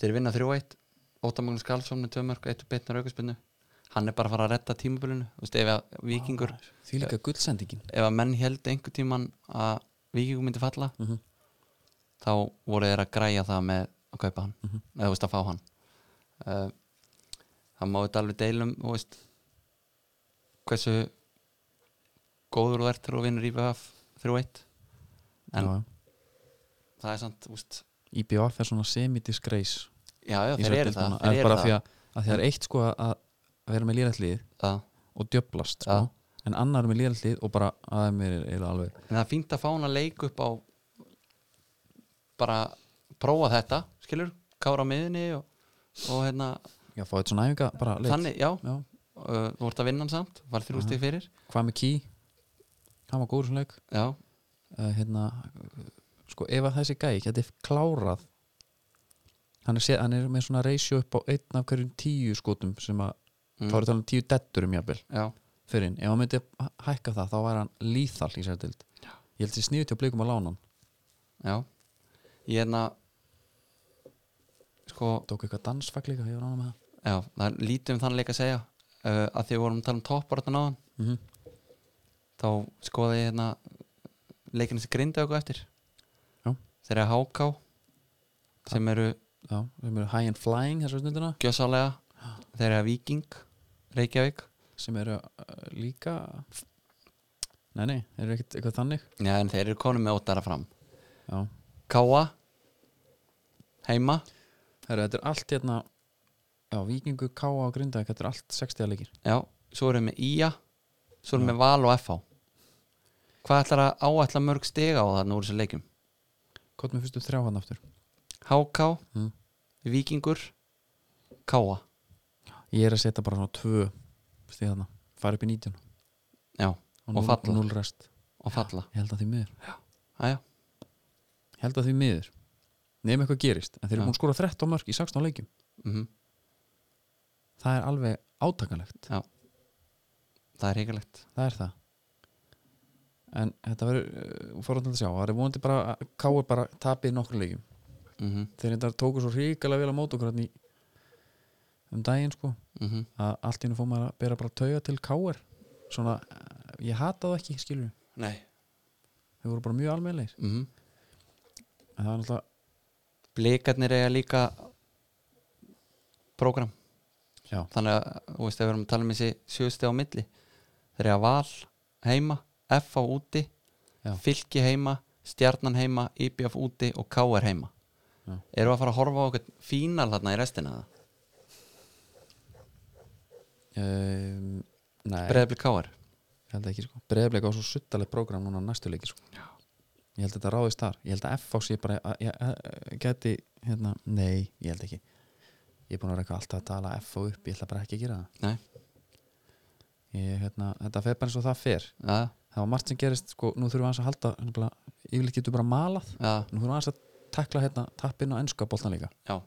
Þeir vinna 3-1 Óta Magnús Karlsson með tvö mörg eitt og beitnar aukaspinnu Hann er bara að fara að redda tímabölinu Vist, ef, að vikingur, því líka gullsendingin ef að menn held einhver tíman að vikingur myndi falla mm þá voru þeir að græja það með að kaupa hann, Mhm. eða þú veist að fá hann uh, það má þetta alveg deilum þú veist hversu góður þú ert þegar þú vinnur í BF 3-1 En- já, já. það er samt, þú veist IBF er svona semi-disgrace já, já, í þeir eru sveitinni það, núna, en þeir eru bara það, því að, að því að það er eitt sko að, að vera með lýrætlið það og djöblast sko, Já. en annar er með lýrætlið og bara aðeins mér er eiginlega alveg en það er fínt að fá hann að leik upp á bara prófa þetta, skilur kára á miðinni og, og hérna já, fá þetta svona æfinga bara leik þannig, já, já. uh, þú vart að vinna hann samt var þrjú Aha. stig fyrir, hvað með ký hann var góður svona um leik já, uh, hérna, uh, sko ef að þessi gæi geti klárað hann er, sé, hann er með svona ratio upp á einn af hverjum tíu skotum sem að, þá er mm, talað um tíu detturum jafnvel já fyrir hinn, ef hann myndi h- hækka það þá væri hann líþall í sér dild ég held sér sniðu til að blikum að lána hann Já Ég hérna Sko, tók eitthvað dansfag líka, ég var ánum með það já, það er lítið um þann leik að segja uh, að því við vorum að tala um topparatan áðan mm þá skoði ég hérna leikinu sem grinda okkur eftir Já. Þeir eru háká sem eru já, sem eru High and Flying þessu stundina gjössálega þeir eru viking, Reykjavík sem eru uh, líka nei nei, þeir eru ekkert eitthvað þannig Já, en þeir eru konum með óttara fram já, Káa Heima Heru, þetta er allt hérna já, Víkingu, Káa og Grindavík, þetta er allt 60 leikir Já, svo erum við með Ía Svo erum Já. við með Val og FH Hvað ætlar að áætla mörg stiga á þarna úr þessu leikum? hvort með fyrstu þrjá hann aftur HK Mm. Víkingur Káa ég er að setja bara svona tvö stíð þarna, fara upp í 19 Já, og, Og núll- falla. og núll rest, og Falla ég held að því miður Æja, ég held að því miður, nefnum eitthvað gerist en þeir eru Já. búin að skora 13 mörg í 16 leikjum mm það er alveg átakalegt það er hrikalegt það er það en þetta verður fórhundan að sjá það er vonandi bara að káur bara tapið nokkur leikjum mm -hmm, þeir þetta tóku svo ríkilega vel á mót okkur þarna í um daginn sko mm að allt í hennu fór maður að bera bara tauga til káur svona, eh, ég hata það ekki skilur, Nei þau voru bara mjög almennleir mm en það er náttúrulega, Blikarnir eiga líka program já, þannig að, þú veist, ef við erum að tala um þessi sjösti á milli þeir eiga val heima, F á úti Já. fylki heima, stjarnan heima IBF úti og KR heima Já. eru að fara að horfa á okkur fínal þarna í restina það, um, nei breyðblik KR ég held ekki sko, breyðbleik á svo suttaleg program núna næstu leiki sko Já. ég held að þetta ráðist þar, ég held að F á sé bara að, ég, að, geti, hérna, nei ég held ekki, ég er búin að vera eitthvað alltaf að tala F á upp, ég ætla bara ekki að gera það Nei. ég, hérna, þetta fer bara eins og það fer ja, það var margt sem gerist, sko, nú þurfum við aðeins að halda nefnilega, yfirleitt getur bara malað ja, nú þurfum við aðeins að takla hérna tappinn og ennska boltan líka já,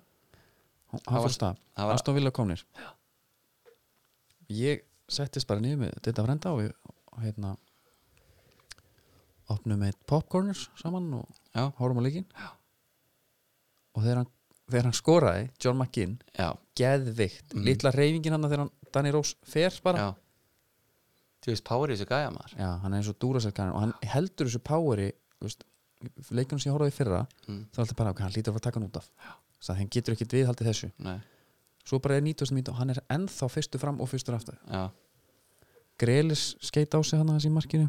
hann Það fór var- af stað, það var Aston Villa komnir ég settist bara niður með þetta frenda og við hérna opnum eitt popcorners saman og Já. horfum á leikinn og þegar hann, þegar hann skoraði John McGinn, já, geðvikt Mhm. litla reyfingin hann þegar hann Danny Rose fer bara, já þú veist, power í þessu gæja maður já. hann er eins og dúraselkanir og hann heldur þessu poweri þú veist, leikunum sem ég horfði í fyrra mm, þá er alltaf bara, ok, hann lítur að fara að taka hann út af þannig að hann getur ekkit viðhaldið þessu nei, svo bara er 90. mínútu og hann er ennþá fyrstu fram og fyrstur aftur já, Grelis skeit á sig hann aðeins í markinu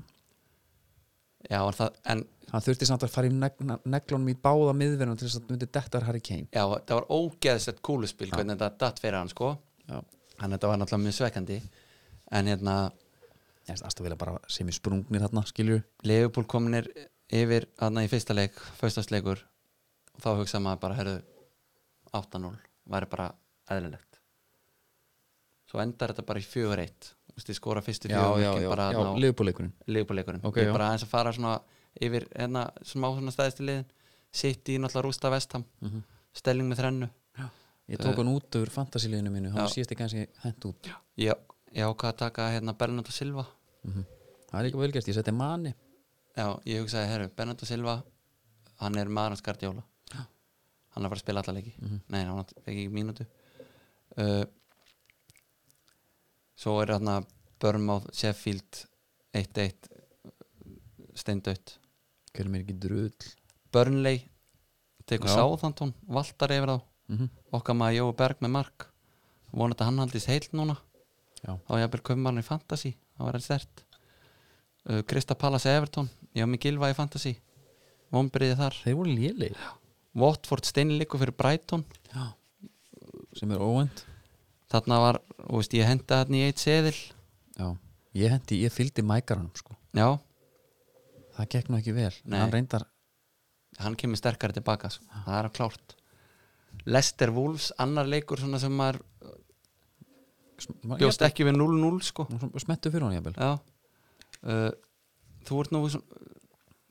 já en, það, en hann þurfti samt að fara í negna- neglunum í báða miðverðunum til þess að myndi dettar Harry Kane já, það var ógeðsett kúluspil hvernig þetta datt fyrir hann sko Já. hann þetta var náttúrulega mjög svekkandi en hérna, ég veist að vilja bara sem í sprungnir þarna skilju Leifupúl kominir yfir aðna í fyrsta leik, föstarsleikur og þá hugsa maður bara, herðu 8-0, væri bara eðlilegt svo endar þetta bara í 4-1 Þú veist, ég skora fyrstu já, já, já, fjögurleikin bara já, þarna á liðbúleikurinn leifupúleikurinn Ok, já. ég er bara aðeins að fara svona yfir hérna, smá svona stæðistu liðin sitt í náttúrulega rústa vestam stelling með þrennu ég tók hann út úr fantasiliðinu mínu hann Eh. Já. síðast ekki hans ég hent út ég, ég ákvað að taka hérna Bernardo Silva Mhm. það er líka velgerst, ég seti manni Já, ég hugsaði, herru, Bernardo Silva hann er maður hans gardjóla hann er að fara að spila alla leiki Mhm. nei, hann átti ekki mínútu uh, svo er hann að Börmáð, Sheffield 1-1 steindaut hver mér ekki drull Burnley tekur Já. Sáðantón, Valtar yfir þá mm -hmm. okkar maður Jói Berg með mark vonandi að hann haldist heilt núna Já. þá ég að byrja köfum hann í Fantasí þá var hann stert uh, Krista Pallas Everton, ég á mig gilva í Fantasí vonbyrðið þar þeir voru lélir Watford steinleiku fyrir Brighton sem er óvend þarna var, þú veist, ég henda þarna í eitt seðil já. ég hendi, ég fylgdi mækaranum sko. já, það gekk nú ekki vel Nei. hann reyndar, hann kemur sterkari tilbaka sko. það er klárt Lester Wolves, annar leikur svona sem maður bjóst ekki við 0-0 sko smettu fyrir hann jafnvel Já uh, Þú ert nú svona,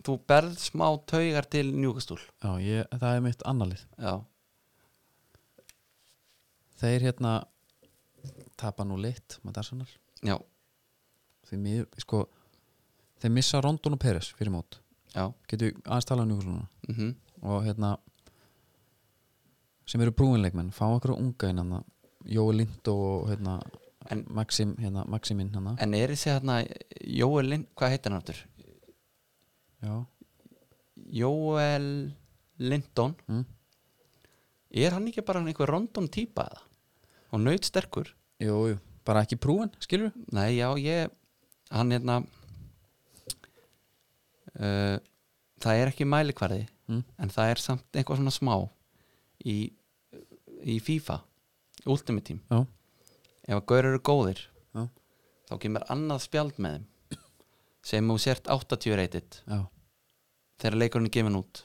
Þú berð smá taugar til njúkastúl já, ég, það er mitt annarlið Já, þeir hérna tapa nú leitt með Arsenal já, þeir, mið, sko, þeir missa Rondon og Peres fyrir mót já getur við aðeins talað um Newcastle núna mm -hmm. og hérna sem eru brúinleikmenn, fá okkur unga inn hann Jói Lindo og hérna, En- Maxim, hérna, Maximinn hann En er þessi hérna Jóel Lind, hvað heitir hann aftur? já, Jóel Lindon Mm. Er hann ekki bara einhver rondom típa eða? Og naut sterkur jú, jú, bara ekki prúin skilur við, Nei, já, ég Hann hérna uh, Það er ekki mælikvarði Mm. En það er samt eitthvað svona smá Í, í FIFA Ultimate Team Já. Ef að gaur eru góðir Já. Þá kemur annað spjald með þeim Sem þú sért 80 reytit já, Þegar leikurinn er gefin út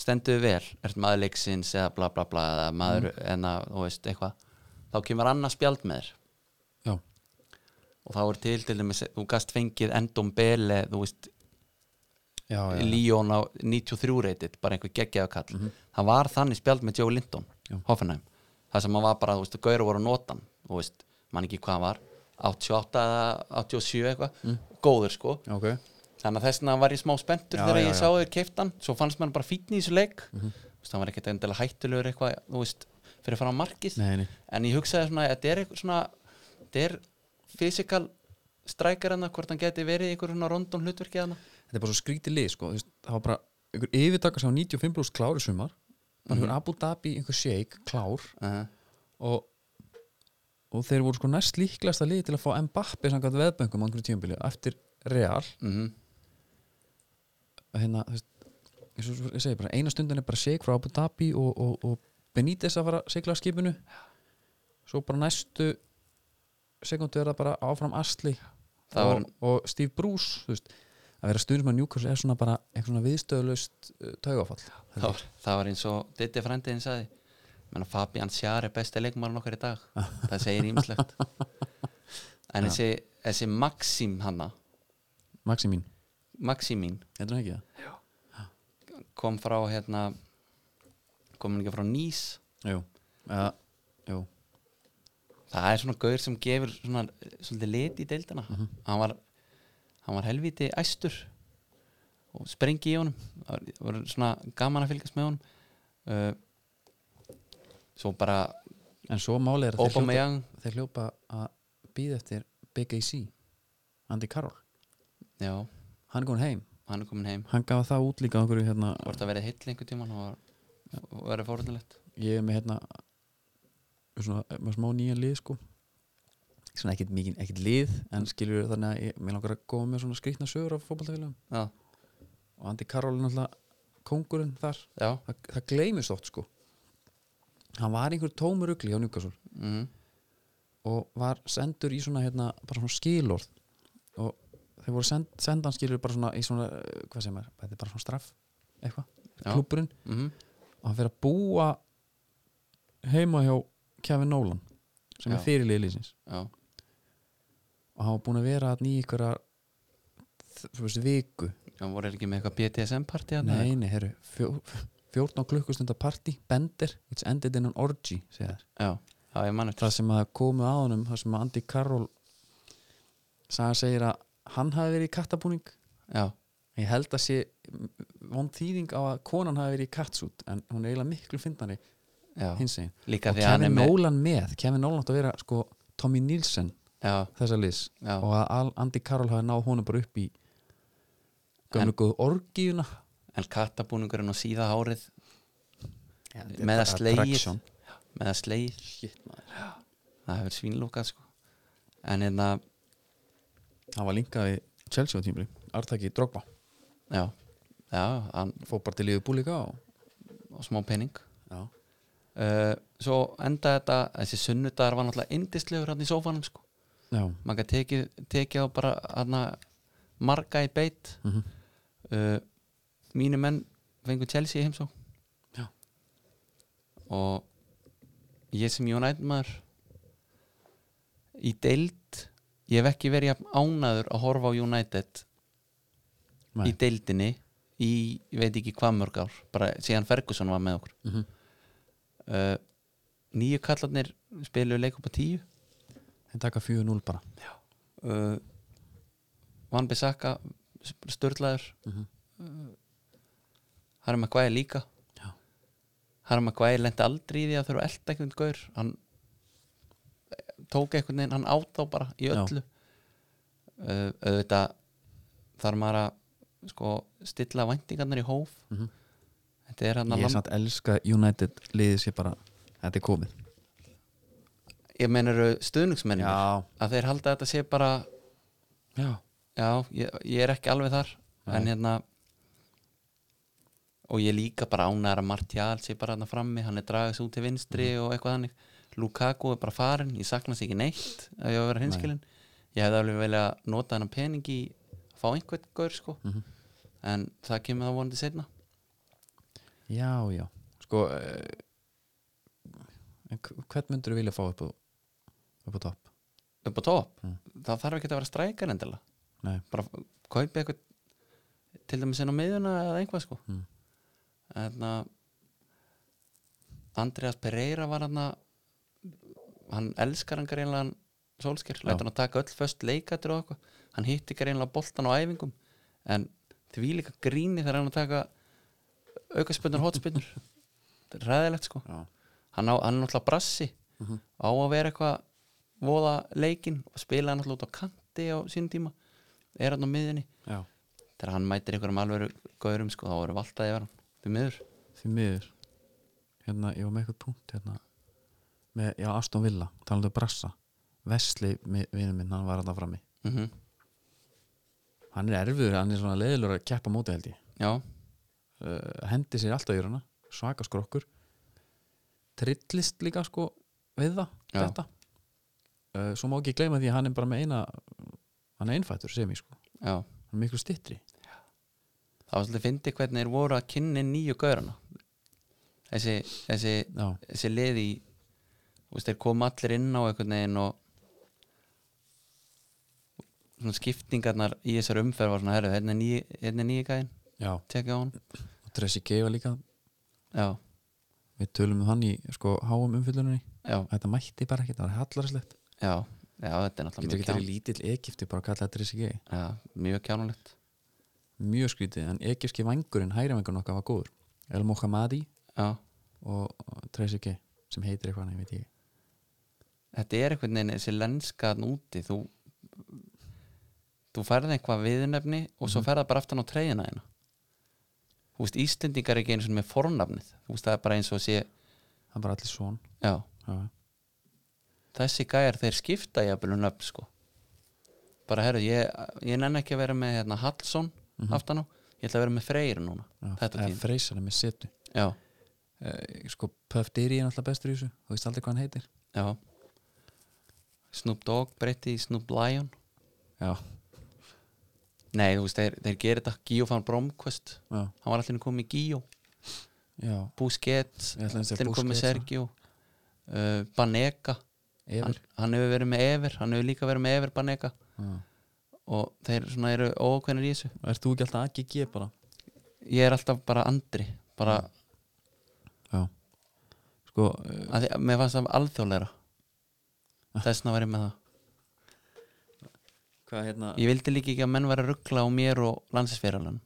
Stenduðu vel Ert maður leiksins eða bla bla bla Eða maður Mm. en að, þú veist, eitthvað Þá kemur annað spjald með þér já, og þá er til til dæmis þú gast fengið endum bele þú veist, já, já, já. Líón á 93 reytit bara einhver geggjaðu kall það var þannig spjald með Joe Linton, Já. Hoffenheim það sem hann var bara, þú veist, gaur voru að nota hann þú veist, mann ekki hvað hann var 88 eða 87 eitthvað Mm. góður sko, ok, þannig að þess vegna var ég smá spenntur Já, þegar já, ég já. Mhm. sá þau keiftan svo fannst mér hann bara fítni í þessu leik þú veist, hann var ekkert endilega hættulegur eitthvað þú veist, fyrir að fara á markið nei, nei en ég hugsaði svona, þetta er eitthvað svona þetta er fysikal strækar hann, hvort hann geti verið í einhverjum svona rondum hlutverki hann þetta er bara svo skrítið lið sko. þú veist, það var bara einhver yfirtaka sem var 95 pluss klári sumar bara einhver Abu Dhabi, einhver Sheik klár uh og, og þeir voru sko næst líklegasta lið til að fá Mbappi samkvæmt veðböngum á einhverju tíumbili eftir Real -huh. að hérna, þú veist, eins og svo ég segi bara eina stundan er bara Sheik frá Abu Dhabi og, og, og Benítez að fara að sigla að skipinu svo bara næstu sekundu er það bara áfram Asli Það og, og Steve Bruce þú veist, að vera stundum að Newcastle er svona bara einhver svona viðstöðlaust uh, taugafall það, var, það var eins og Ditti frændin sagði menna Fabian Sjar er besti leikmarinn okkar í dag það segir ímslegt en þessi, þessi Maxim hanna Maximín, Maximín heldur hann ekki það? kom frá hérna kom hann ekki frá Nýs Jú, uh, jú. það er svona gaur sem gefur svona, eh, svolítið lit í deildina Mhm. hann, var, hann var helviti æstur og sprengi í honum það var, það var svona gaman að fylgjast með honum uh, svo bara En svo málið er að þeir hljópa, Aubameyang þeir hljópa að býða eftir Big AC Andy Carroll, já, hann er góðin heim hann er komin heim hann gaf það út líka á einhverju hérna, hvort það verið heill einhver tíma og var- verið fórhaldilegt ég er með hérna svona, með smá nýja lið sko svona ekkit, mikið, ekkit lið en skilur þannig að ég, mér langar að góða með svona skrýtna sögur af fótballtafélagum já, og Andy Carroll er náttúrulega kóngurinn þar já það, það gleymist oft sko hann var einhver tómur ugli á Newcastle mm, og var sendur í svona hérna, bara svona skilorð og þeir voru send, sendan skilur bara svona í svona, eh, hvað sem er, þetta er bara svona straff eitthvað, Já. klúburinn mm, og hann fyrir að búa heima hjá Kevin Nolan sem Já. er fyrirlið lýsins já, og hann var búin að vera þarna í einhverja þú veist, viku já, voru þeir ekki með eitthvað BDSM-parti þarna? nei, nei, herru, fjó, 14 klukkustunda partí, bender it's ended in an orgy, segja þær já, já, ég man eftir það sem að komu að honum, það sem að Andy Carroll saga segir að hann hafi verið í kattabúning já, ég held að sé von þýðing á að konan hafi verið í kattsút en hún er eiginlega miklu fyndari já, hins einn líka og því að hann Kevin er með Nolan með, Kevin Nolan átt að vera sko Tommy Nielsen já, þessa liðs já, og að Al- Andy Carroll hafi náð honum bara upp í gömlu góðu orgíuna en kattabúningurinn og síða hárið með að slegið með að slegið það hefur svínlúkað sko en hérna, hann var linkað við Chelsea á tímli Artaki Drogba, já já, hann, fór bara til liðu búlíka og... og smá pening já, uh, svo enda þetta, þessi sunnudagar var náttúrulega indislegur hann í sófanum sko já. maður gæti tekið, tekið á bara hana, marga í beitt Mm uh, mínu menn fengur Chelsea í heimsó Já. og ég sem United maður í deild ég hef ekki verið jafn ánaður að horfa á United í deildinni í, ég veit ekki hvað mörg ár bara síðan Ferguson var með okkur Mhm. uh, nýju kallarnir spiluðu leik upp á tíu þeir taka 4-0 bara uh, Van Bissaka störlaður mm -hmm. Mhm. uh, Harry Maguire líka Já. Harry Maguire lendi aldrei í því að þurfa að elda einhvern gaur hann eh, tók einhvern veginn, hann át þá bara í Já. öllu uh, auðvitað þarf maður að sko, stilla væntingarnar í hóf Mhm. þetta er hann að ég er lamb samt elska United liðið sér bara, þetta er komið ég meinar stuðningsmennin já, að þeir halda að þetta sé bara já Já, ég, ég er ekki alveg þar Nei. en hérna og ég er líka bara ánæður að Martial sé bara hann frammi, hann er dragast út til vinstri og eitthvað þannig, Lukaku er bara farin ég sakna sér ekki neitt að ég á að vera hinskilin ég hefði alveg velja að nota hennar pening í að fá einhvern gaur sko Mhm. en það kemur það vonandi setna Já, já Sko eh, en hv- Hvern myndur vilja fá upp á, upp á topp? upp á topp, Mm. það þarf ekki að vera strækar endilega, Nei, bara f- kaupi eitthvað til dæmis inn á miðuna eða einhvað sko Mm. en að Andreas Pereira var hann að hann elskar hann greinlega hann sólskir, lætur hann að taka öll föst leikatir og eitthvað, hann hitti greinlega boltan á æfingum, en því líka gríni þegar hann er að taka aukaspönnur, hotspönnur <laughs> ræðilegt sko, Já. hann, á, hann er náttúrulega brassi á að vera eitthvað voða leikinn og spila hann náttúrulega út á kanti á sínum tíma er hann á miðinni, Já. þegar hann mætir einhverjum alveg gaurum sko, þá eru valdaði yfir hann því miður, því miður hérna, ég var með eitthvað punkt hérna með, já, Aston Villa, talandu um brassa Vesli, vinur minn, hann var alltaf frammi mhm hann er erfiður, hann er svona leiðilur að keppa á móti held ég, já, uh, hendi sér alltaf í hana svaka skrokkur trillist líka sko við það, Já. þetta uh, svo má ekki gleyma því að hann er bara með eina hann er einfattur sem ég sko já hann er miklu stittri það var svolítið fyndið hvernig þeir voru að kynni nýju gaurana þessi, þessi, já, þessi liði veist, þeir kom allir inn á einhvern veginn og svona skiptingarnar í þessar umferð var svona herru, hérna er nýji- hérna er nýju gæðin já, tekja á hann og Tressi Gefa líka já, við tölum um hann í sko háum umfylluninni já, þetta mætti bara ekki, það var hallarslegt já, já, þetta er náttúrulega getur ekki mjög, verið kján, lítill Egipti bara að kalla þetta Tressi Gefa já, mjög kjánulegt mjög skrítið, en Egipski vangurinn hægri vangurinn okkar var góður El Mohammadi já, og Tressi Gefa sem heitir eitthvað, hann, ég veit ég þetta er einhvern veginn þessi lenska þarna úti þú, þú færði eitthvað viðnefni og Mhm. svo færði bara aftan á treyjuna hérna þú veist, Íslendingar er ekki eins og með fornafnið þú veist, það er bara eins og sé það er bara allir svon já, já, já þessi gæjar þeir skipta jafnvel um nöfn sko bara herru, ég, ég nenni ekki að vera með hérna, Hallsson Mhm. aftan á ég ætla að vera með Freyr núna Já, þetta eða tíð freysana með setu já, eh, sko Puff Diri er náttúrulega bestur í þessu þú veist aldrei hvað hann heitir já Snoop Dogg breytti í Snoop Lion já, nei, þú veist, þeir, þeir gerir þetta Gio van Bromquist já, hann var allir komið í Gio já. Busquets, Ég ætlaði að segja allir komið Busquets, Sergio uh, Banega hann, Ever hann hefur verið með Ever, hann hefur líka verið með Ever Banega Já. og þeir svona eru ókvænir í þessu Ert þú ekki alltaf að ekki bara? ég er alltaf bara andri bara, Já Sko, eh, að, því- mér fannst það alþjóðleira Ah. þessna var ég með það hvað hérna ég vildi líka ekki að menn var að ruggla á mér og landsinsfélagann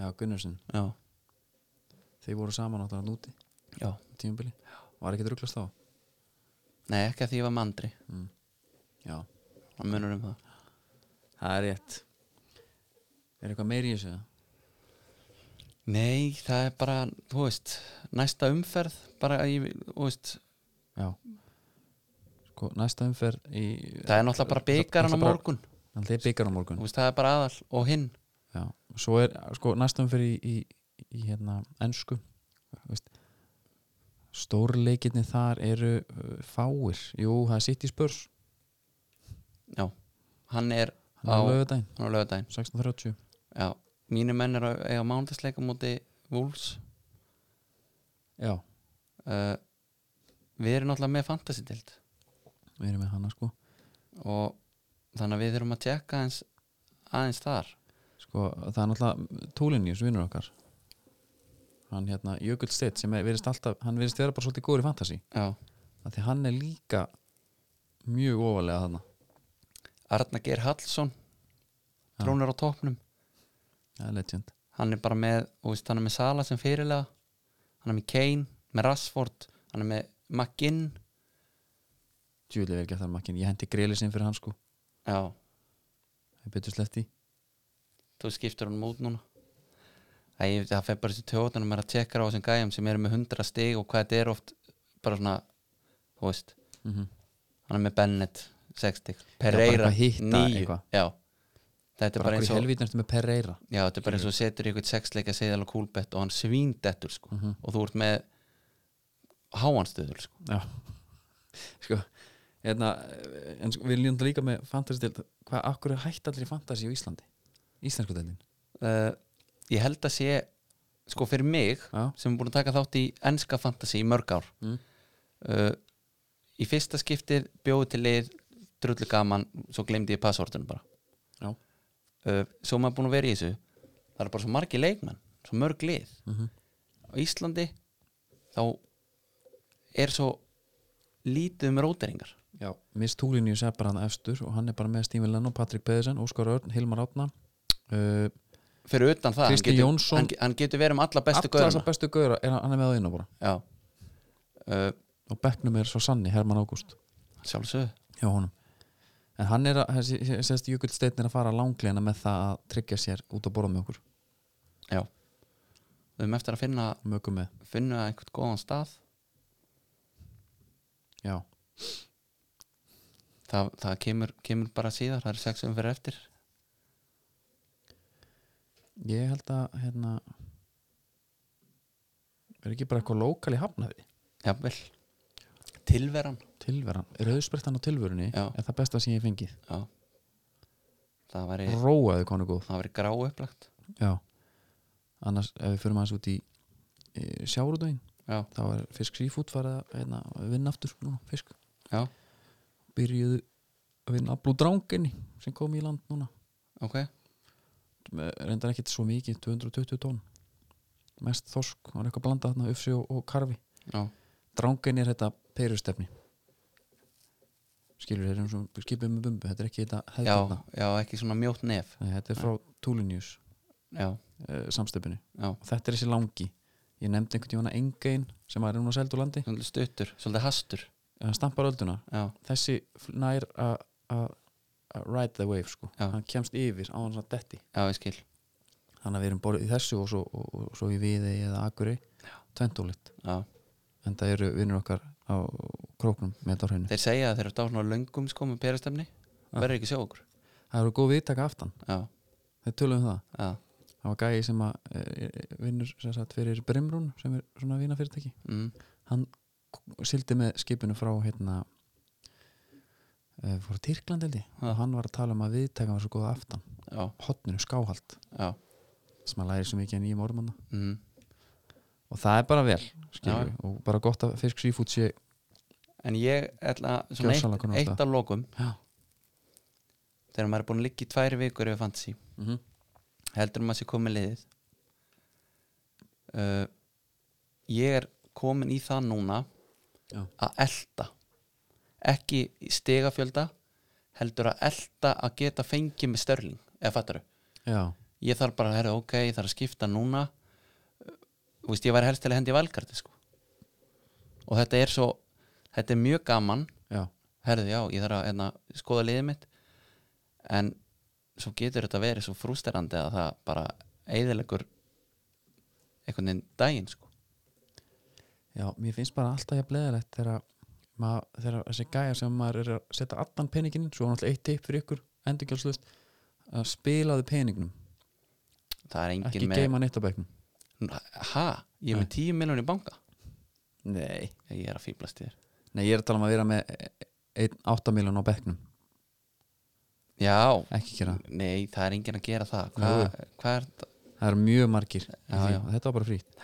Já, Gunnarsson, já, þeir voru saman áttan að núti já, tímabili, var ekki druglast þá nei ekki að því ég var með andri Já, hann munur um það það er rétt Er eitthvað meiri í þessu? eða? nei, það er bara, þú veist næsta umferð, bara, ég, þú veist Já Sko, næsta umferð í það er náttúrulega bara byggaran á náttúrulega bara- morgun Það er byggar á þú morgun veist, það er bara aðal og hinn Já, svo er, sko, næsta umferð í, í, í hérna, ennsku veist, Stórleikinni þar eru uh, fáir, jú, það er sitt í spörs já, hann er Hann er Á- lögudaginn, hann er á lögadaginn 16.30 já, mínu menn er að eiga mándagsleika múti Wolves Já, uh, við erum náttúrulega með fantasy-dild við erum með hana, sko og þannig að við þurfum að tjekka aðeins, aðeins þar Sko, það er náttúrulega Túlinjus, vinnur okkar Hann hérna, Jökull Steitt sem er, verist alltaf, hann verist vera bara svolítið góður í fantasi já, að því hann er líka mjög ofalega þarna Arna Geir Hallsson trónur á toppnum Það er legend hann er bara með, þú veist, hann er með Sala sem fyrirlega hann er með Kane, með Rashford hann er með McGinn Djúli verið ekki að það er makkinn, ég hendi greilisinn fyrir hann sko já, Það er betur slett í þú skiptir hann út núna Æ, ég- það fer bara þessi tjóðan maður er að tekka á þessum gæjum sem eru með 100 stig og hvað þetta er oft bara svona þú veist, mm hann er með Bennett 6 stig, bara Pereira eitthvað hitta 9, eitthvað. já þetta er bara Bara eins hverju og helvítin ertu með Pereira já, þetta er bara eins og setur í eitthvað 6 leika seðal og kúlbett og hann svíndettur sko Mhm. og þú ert með háanstöður sko Já Sko, hérna eh, en sko, við líðum líka með fantasy til hvað, akkur er hætt allir í fantasi á Íslandi Íslensku deildin uh, ég held að sé sko fyrir mig Eh, Já, sem er búin að taka þátt í enska fantasy í mörg ár Mm. uh, í fyrsta skiptið bjóði til lið drullu gaman, svo glemdi ég passvortinu bara Já. uh, svo maður búin að vera í þessu það er bara svo margi leikmenn, svo mörg lið Mhm. á Íslandi þá er svo lítið um róteringar Já, Miss Túlinius er bara hann efstur og hann er bara með Stífin Lennon, Patrik Pedersen, Óskar Örn, Hilmar Átna uh, fyrir utan það, hann Kristinn getur, Jónsson. hann, ge- hann getur verið um alla Alla bestu þessa gaurana bestu gauðra, er, hann er með á einu bara já uh, og bekknum er svo sanni, Herman Ágúst sjálfsög, hjá honum en hann er að, sérst Jökull Steinn er að fara langleina með það að tryggja sér út að borða með okkur, já við höfum eftir að finna, mögum með finna einhvern góðan stað já, það, það kemur, kemur bara síðar það er sex umferð eftir ég held að hérna er ekki bara eitthvað lokal í hafnaði já, vel, tilveran tilveran, rauðsprettan á tilverunni Já. er það besta sem ég hef fengið, já það væri, róaðu konu góð það væri grá upplagt já, annars ef við fyrir maður út í sjáurudögin já, þá er fisk sífút farið að hérna, vinna aftur núna, fisk já, byrjuðu að vinna að blú dránginni sem kom í land núna ok með- reyndar ekkert svo mikið 220 tónn mest þorsk, það var eitthvað blandað þarna ufsi og, og karfi já, drángin er þetta perustefni skilur þeir um svona skipið með bumbu, þetta er ekki þetta já, hefðbundna já, ekki svona mjótt nef Nei, þetta er frá Tulinius já, uh, samstöpunni já, og þetta er þessi langi ég nefndi einhvern tíma engein sem er núna seld úr landi svolítið stuttur svolítið hastur, hann stampar ölduna, já, þessi fl- nær að að- að ride the wave sko Já. hann kemst yfir á hann svona detti já, ég skil þannig að við erum borðið í þessu og svo, og, og svo í viði eða akuri tventúlitt, já, en það eru vinnur okkar á króknum með dórhæðinu þeir segja að þeir eru dáðan á löngum sko með perastemni, verður ekki að sjá okkur það eru góð viðtaka aftan, já, þeir tölum um það já, það var gæi sem að e, e, vinnur sem sagt fyrir Brimrún sem er svona vinafyrirtæki mm, hann k- sigldi með skipinu frá hérna e, fór Tyrkland held ég Já. og hann var að tala um að viðtaka var svo góð aftan já, hotninu skáhald já sem að læri svo mikið en nýjum ormanna mm, og það er bara vel skilur, Já. við, og bara gott að fisk sífút sé en ég ætla að- svona eitt, Gjörsamlega eitt af lokum Já. þegar maður er búin að liggja í tvær vikur yfir fantasy mm -hmm. heldur maður sé komin liðið uh, ég er komin í það núna Já. að elta ekki í stigafjölda heldur að elta að geta fengið með störling eða fattaru, já, ég þarf bara að herra ok, ég þarf að skipta núna Uh, þú veist, ég væri helst til að hendi valkarti sko. og þetta er svo þetta er mjög gaman já, herði já, ég þarf að hérna, skoða liðið mitt en svo getur þetta verið svo frústerandi að það bara eiðilegur einhvern veginn daginn sko. já, mér finnst bara alltaf ég bleðilegt þegar maður, þegar þessi gæja sem maður er að setja allan peningin svo er náttúrulega eitt tipp fyrir ykkur, endurgjálslust að spilaðu peningnum það er engin ekki með geima neitt á bæknum ha, ég er með Nei. 10 miljonir í banka nei. ég er að fýblast þér nei, ég er að tala um að vera með 8 miljón á bæknum já, ekki gera, það. nei, það er engin að gera það hvað hva er það, það eru mjög margir já, Já, já. þetta var bara frýtt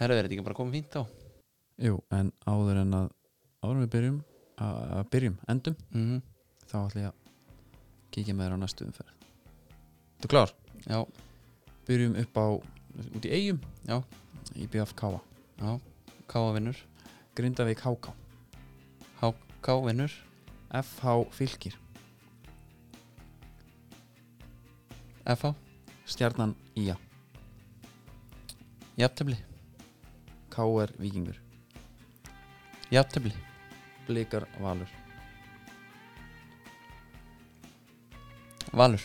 herðu verið ekki bara komið fínt á Jú, en áður en að áður en við byrjum, að, að byrjum endum, mm þá ætla ég að kíkja með þér á næstu umferð Þú klár? já, Byrjum upp á, út í eigum já, í BFK já, kávinnur Grindavík HK kávinnur, FH Fylkir FH, Stjarnan Ía jafntöfli KR Víkingur jafntöfli, Blikar Valur valur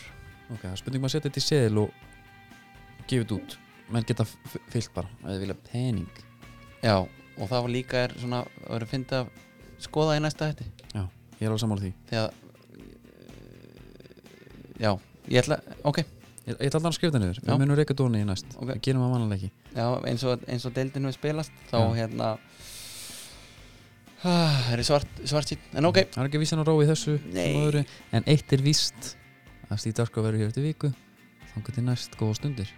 Ok, það er spurning maður að setja þetta í seðil og gefa þetta út menn geta f- f- fyllt bara ef þið vilja pening Já, og það var líka er svona að vera að finna að skoða í næsta hætti Já, ég er alveg sammála því því að eh, já, ég ætla, ok Ég, ég ætla alltaf að skrifa það niður, Já. við munum reyka dóni í næst Ok. Við gerum að mannalegi já, eins og, eins og deildinu við spilast þá Já. hérna <sighs> ah, er svart, svart sín en ok, Það er ekki vísan að rói þessu Nei. sem öðru, En eitt er víst að Stíð Darko verður hér eftir viku Þannig til næst, góða stundir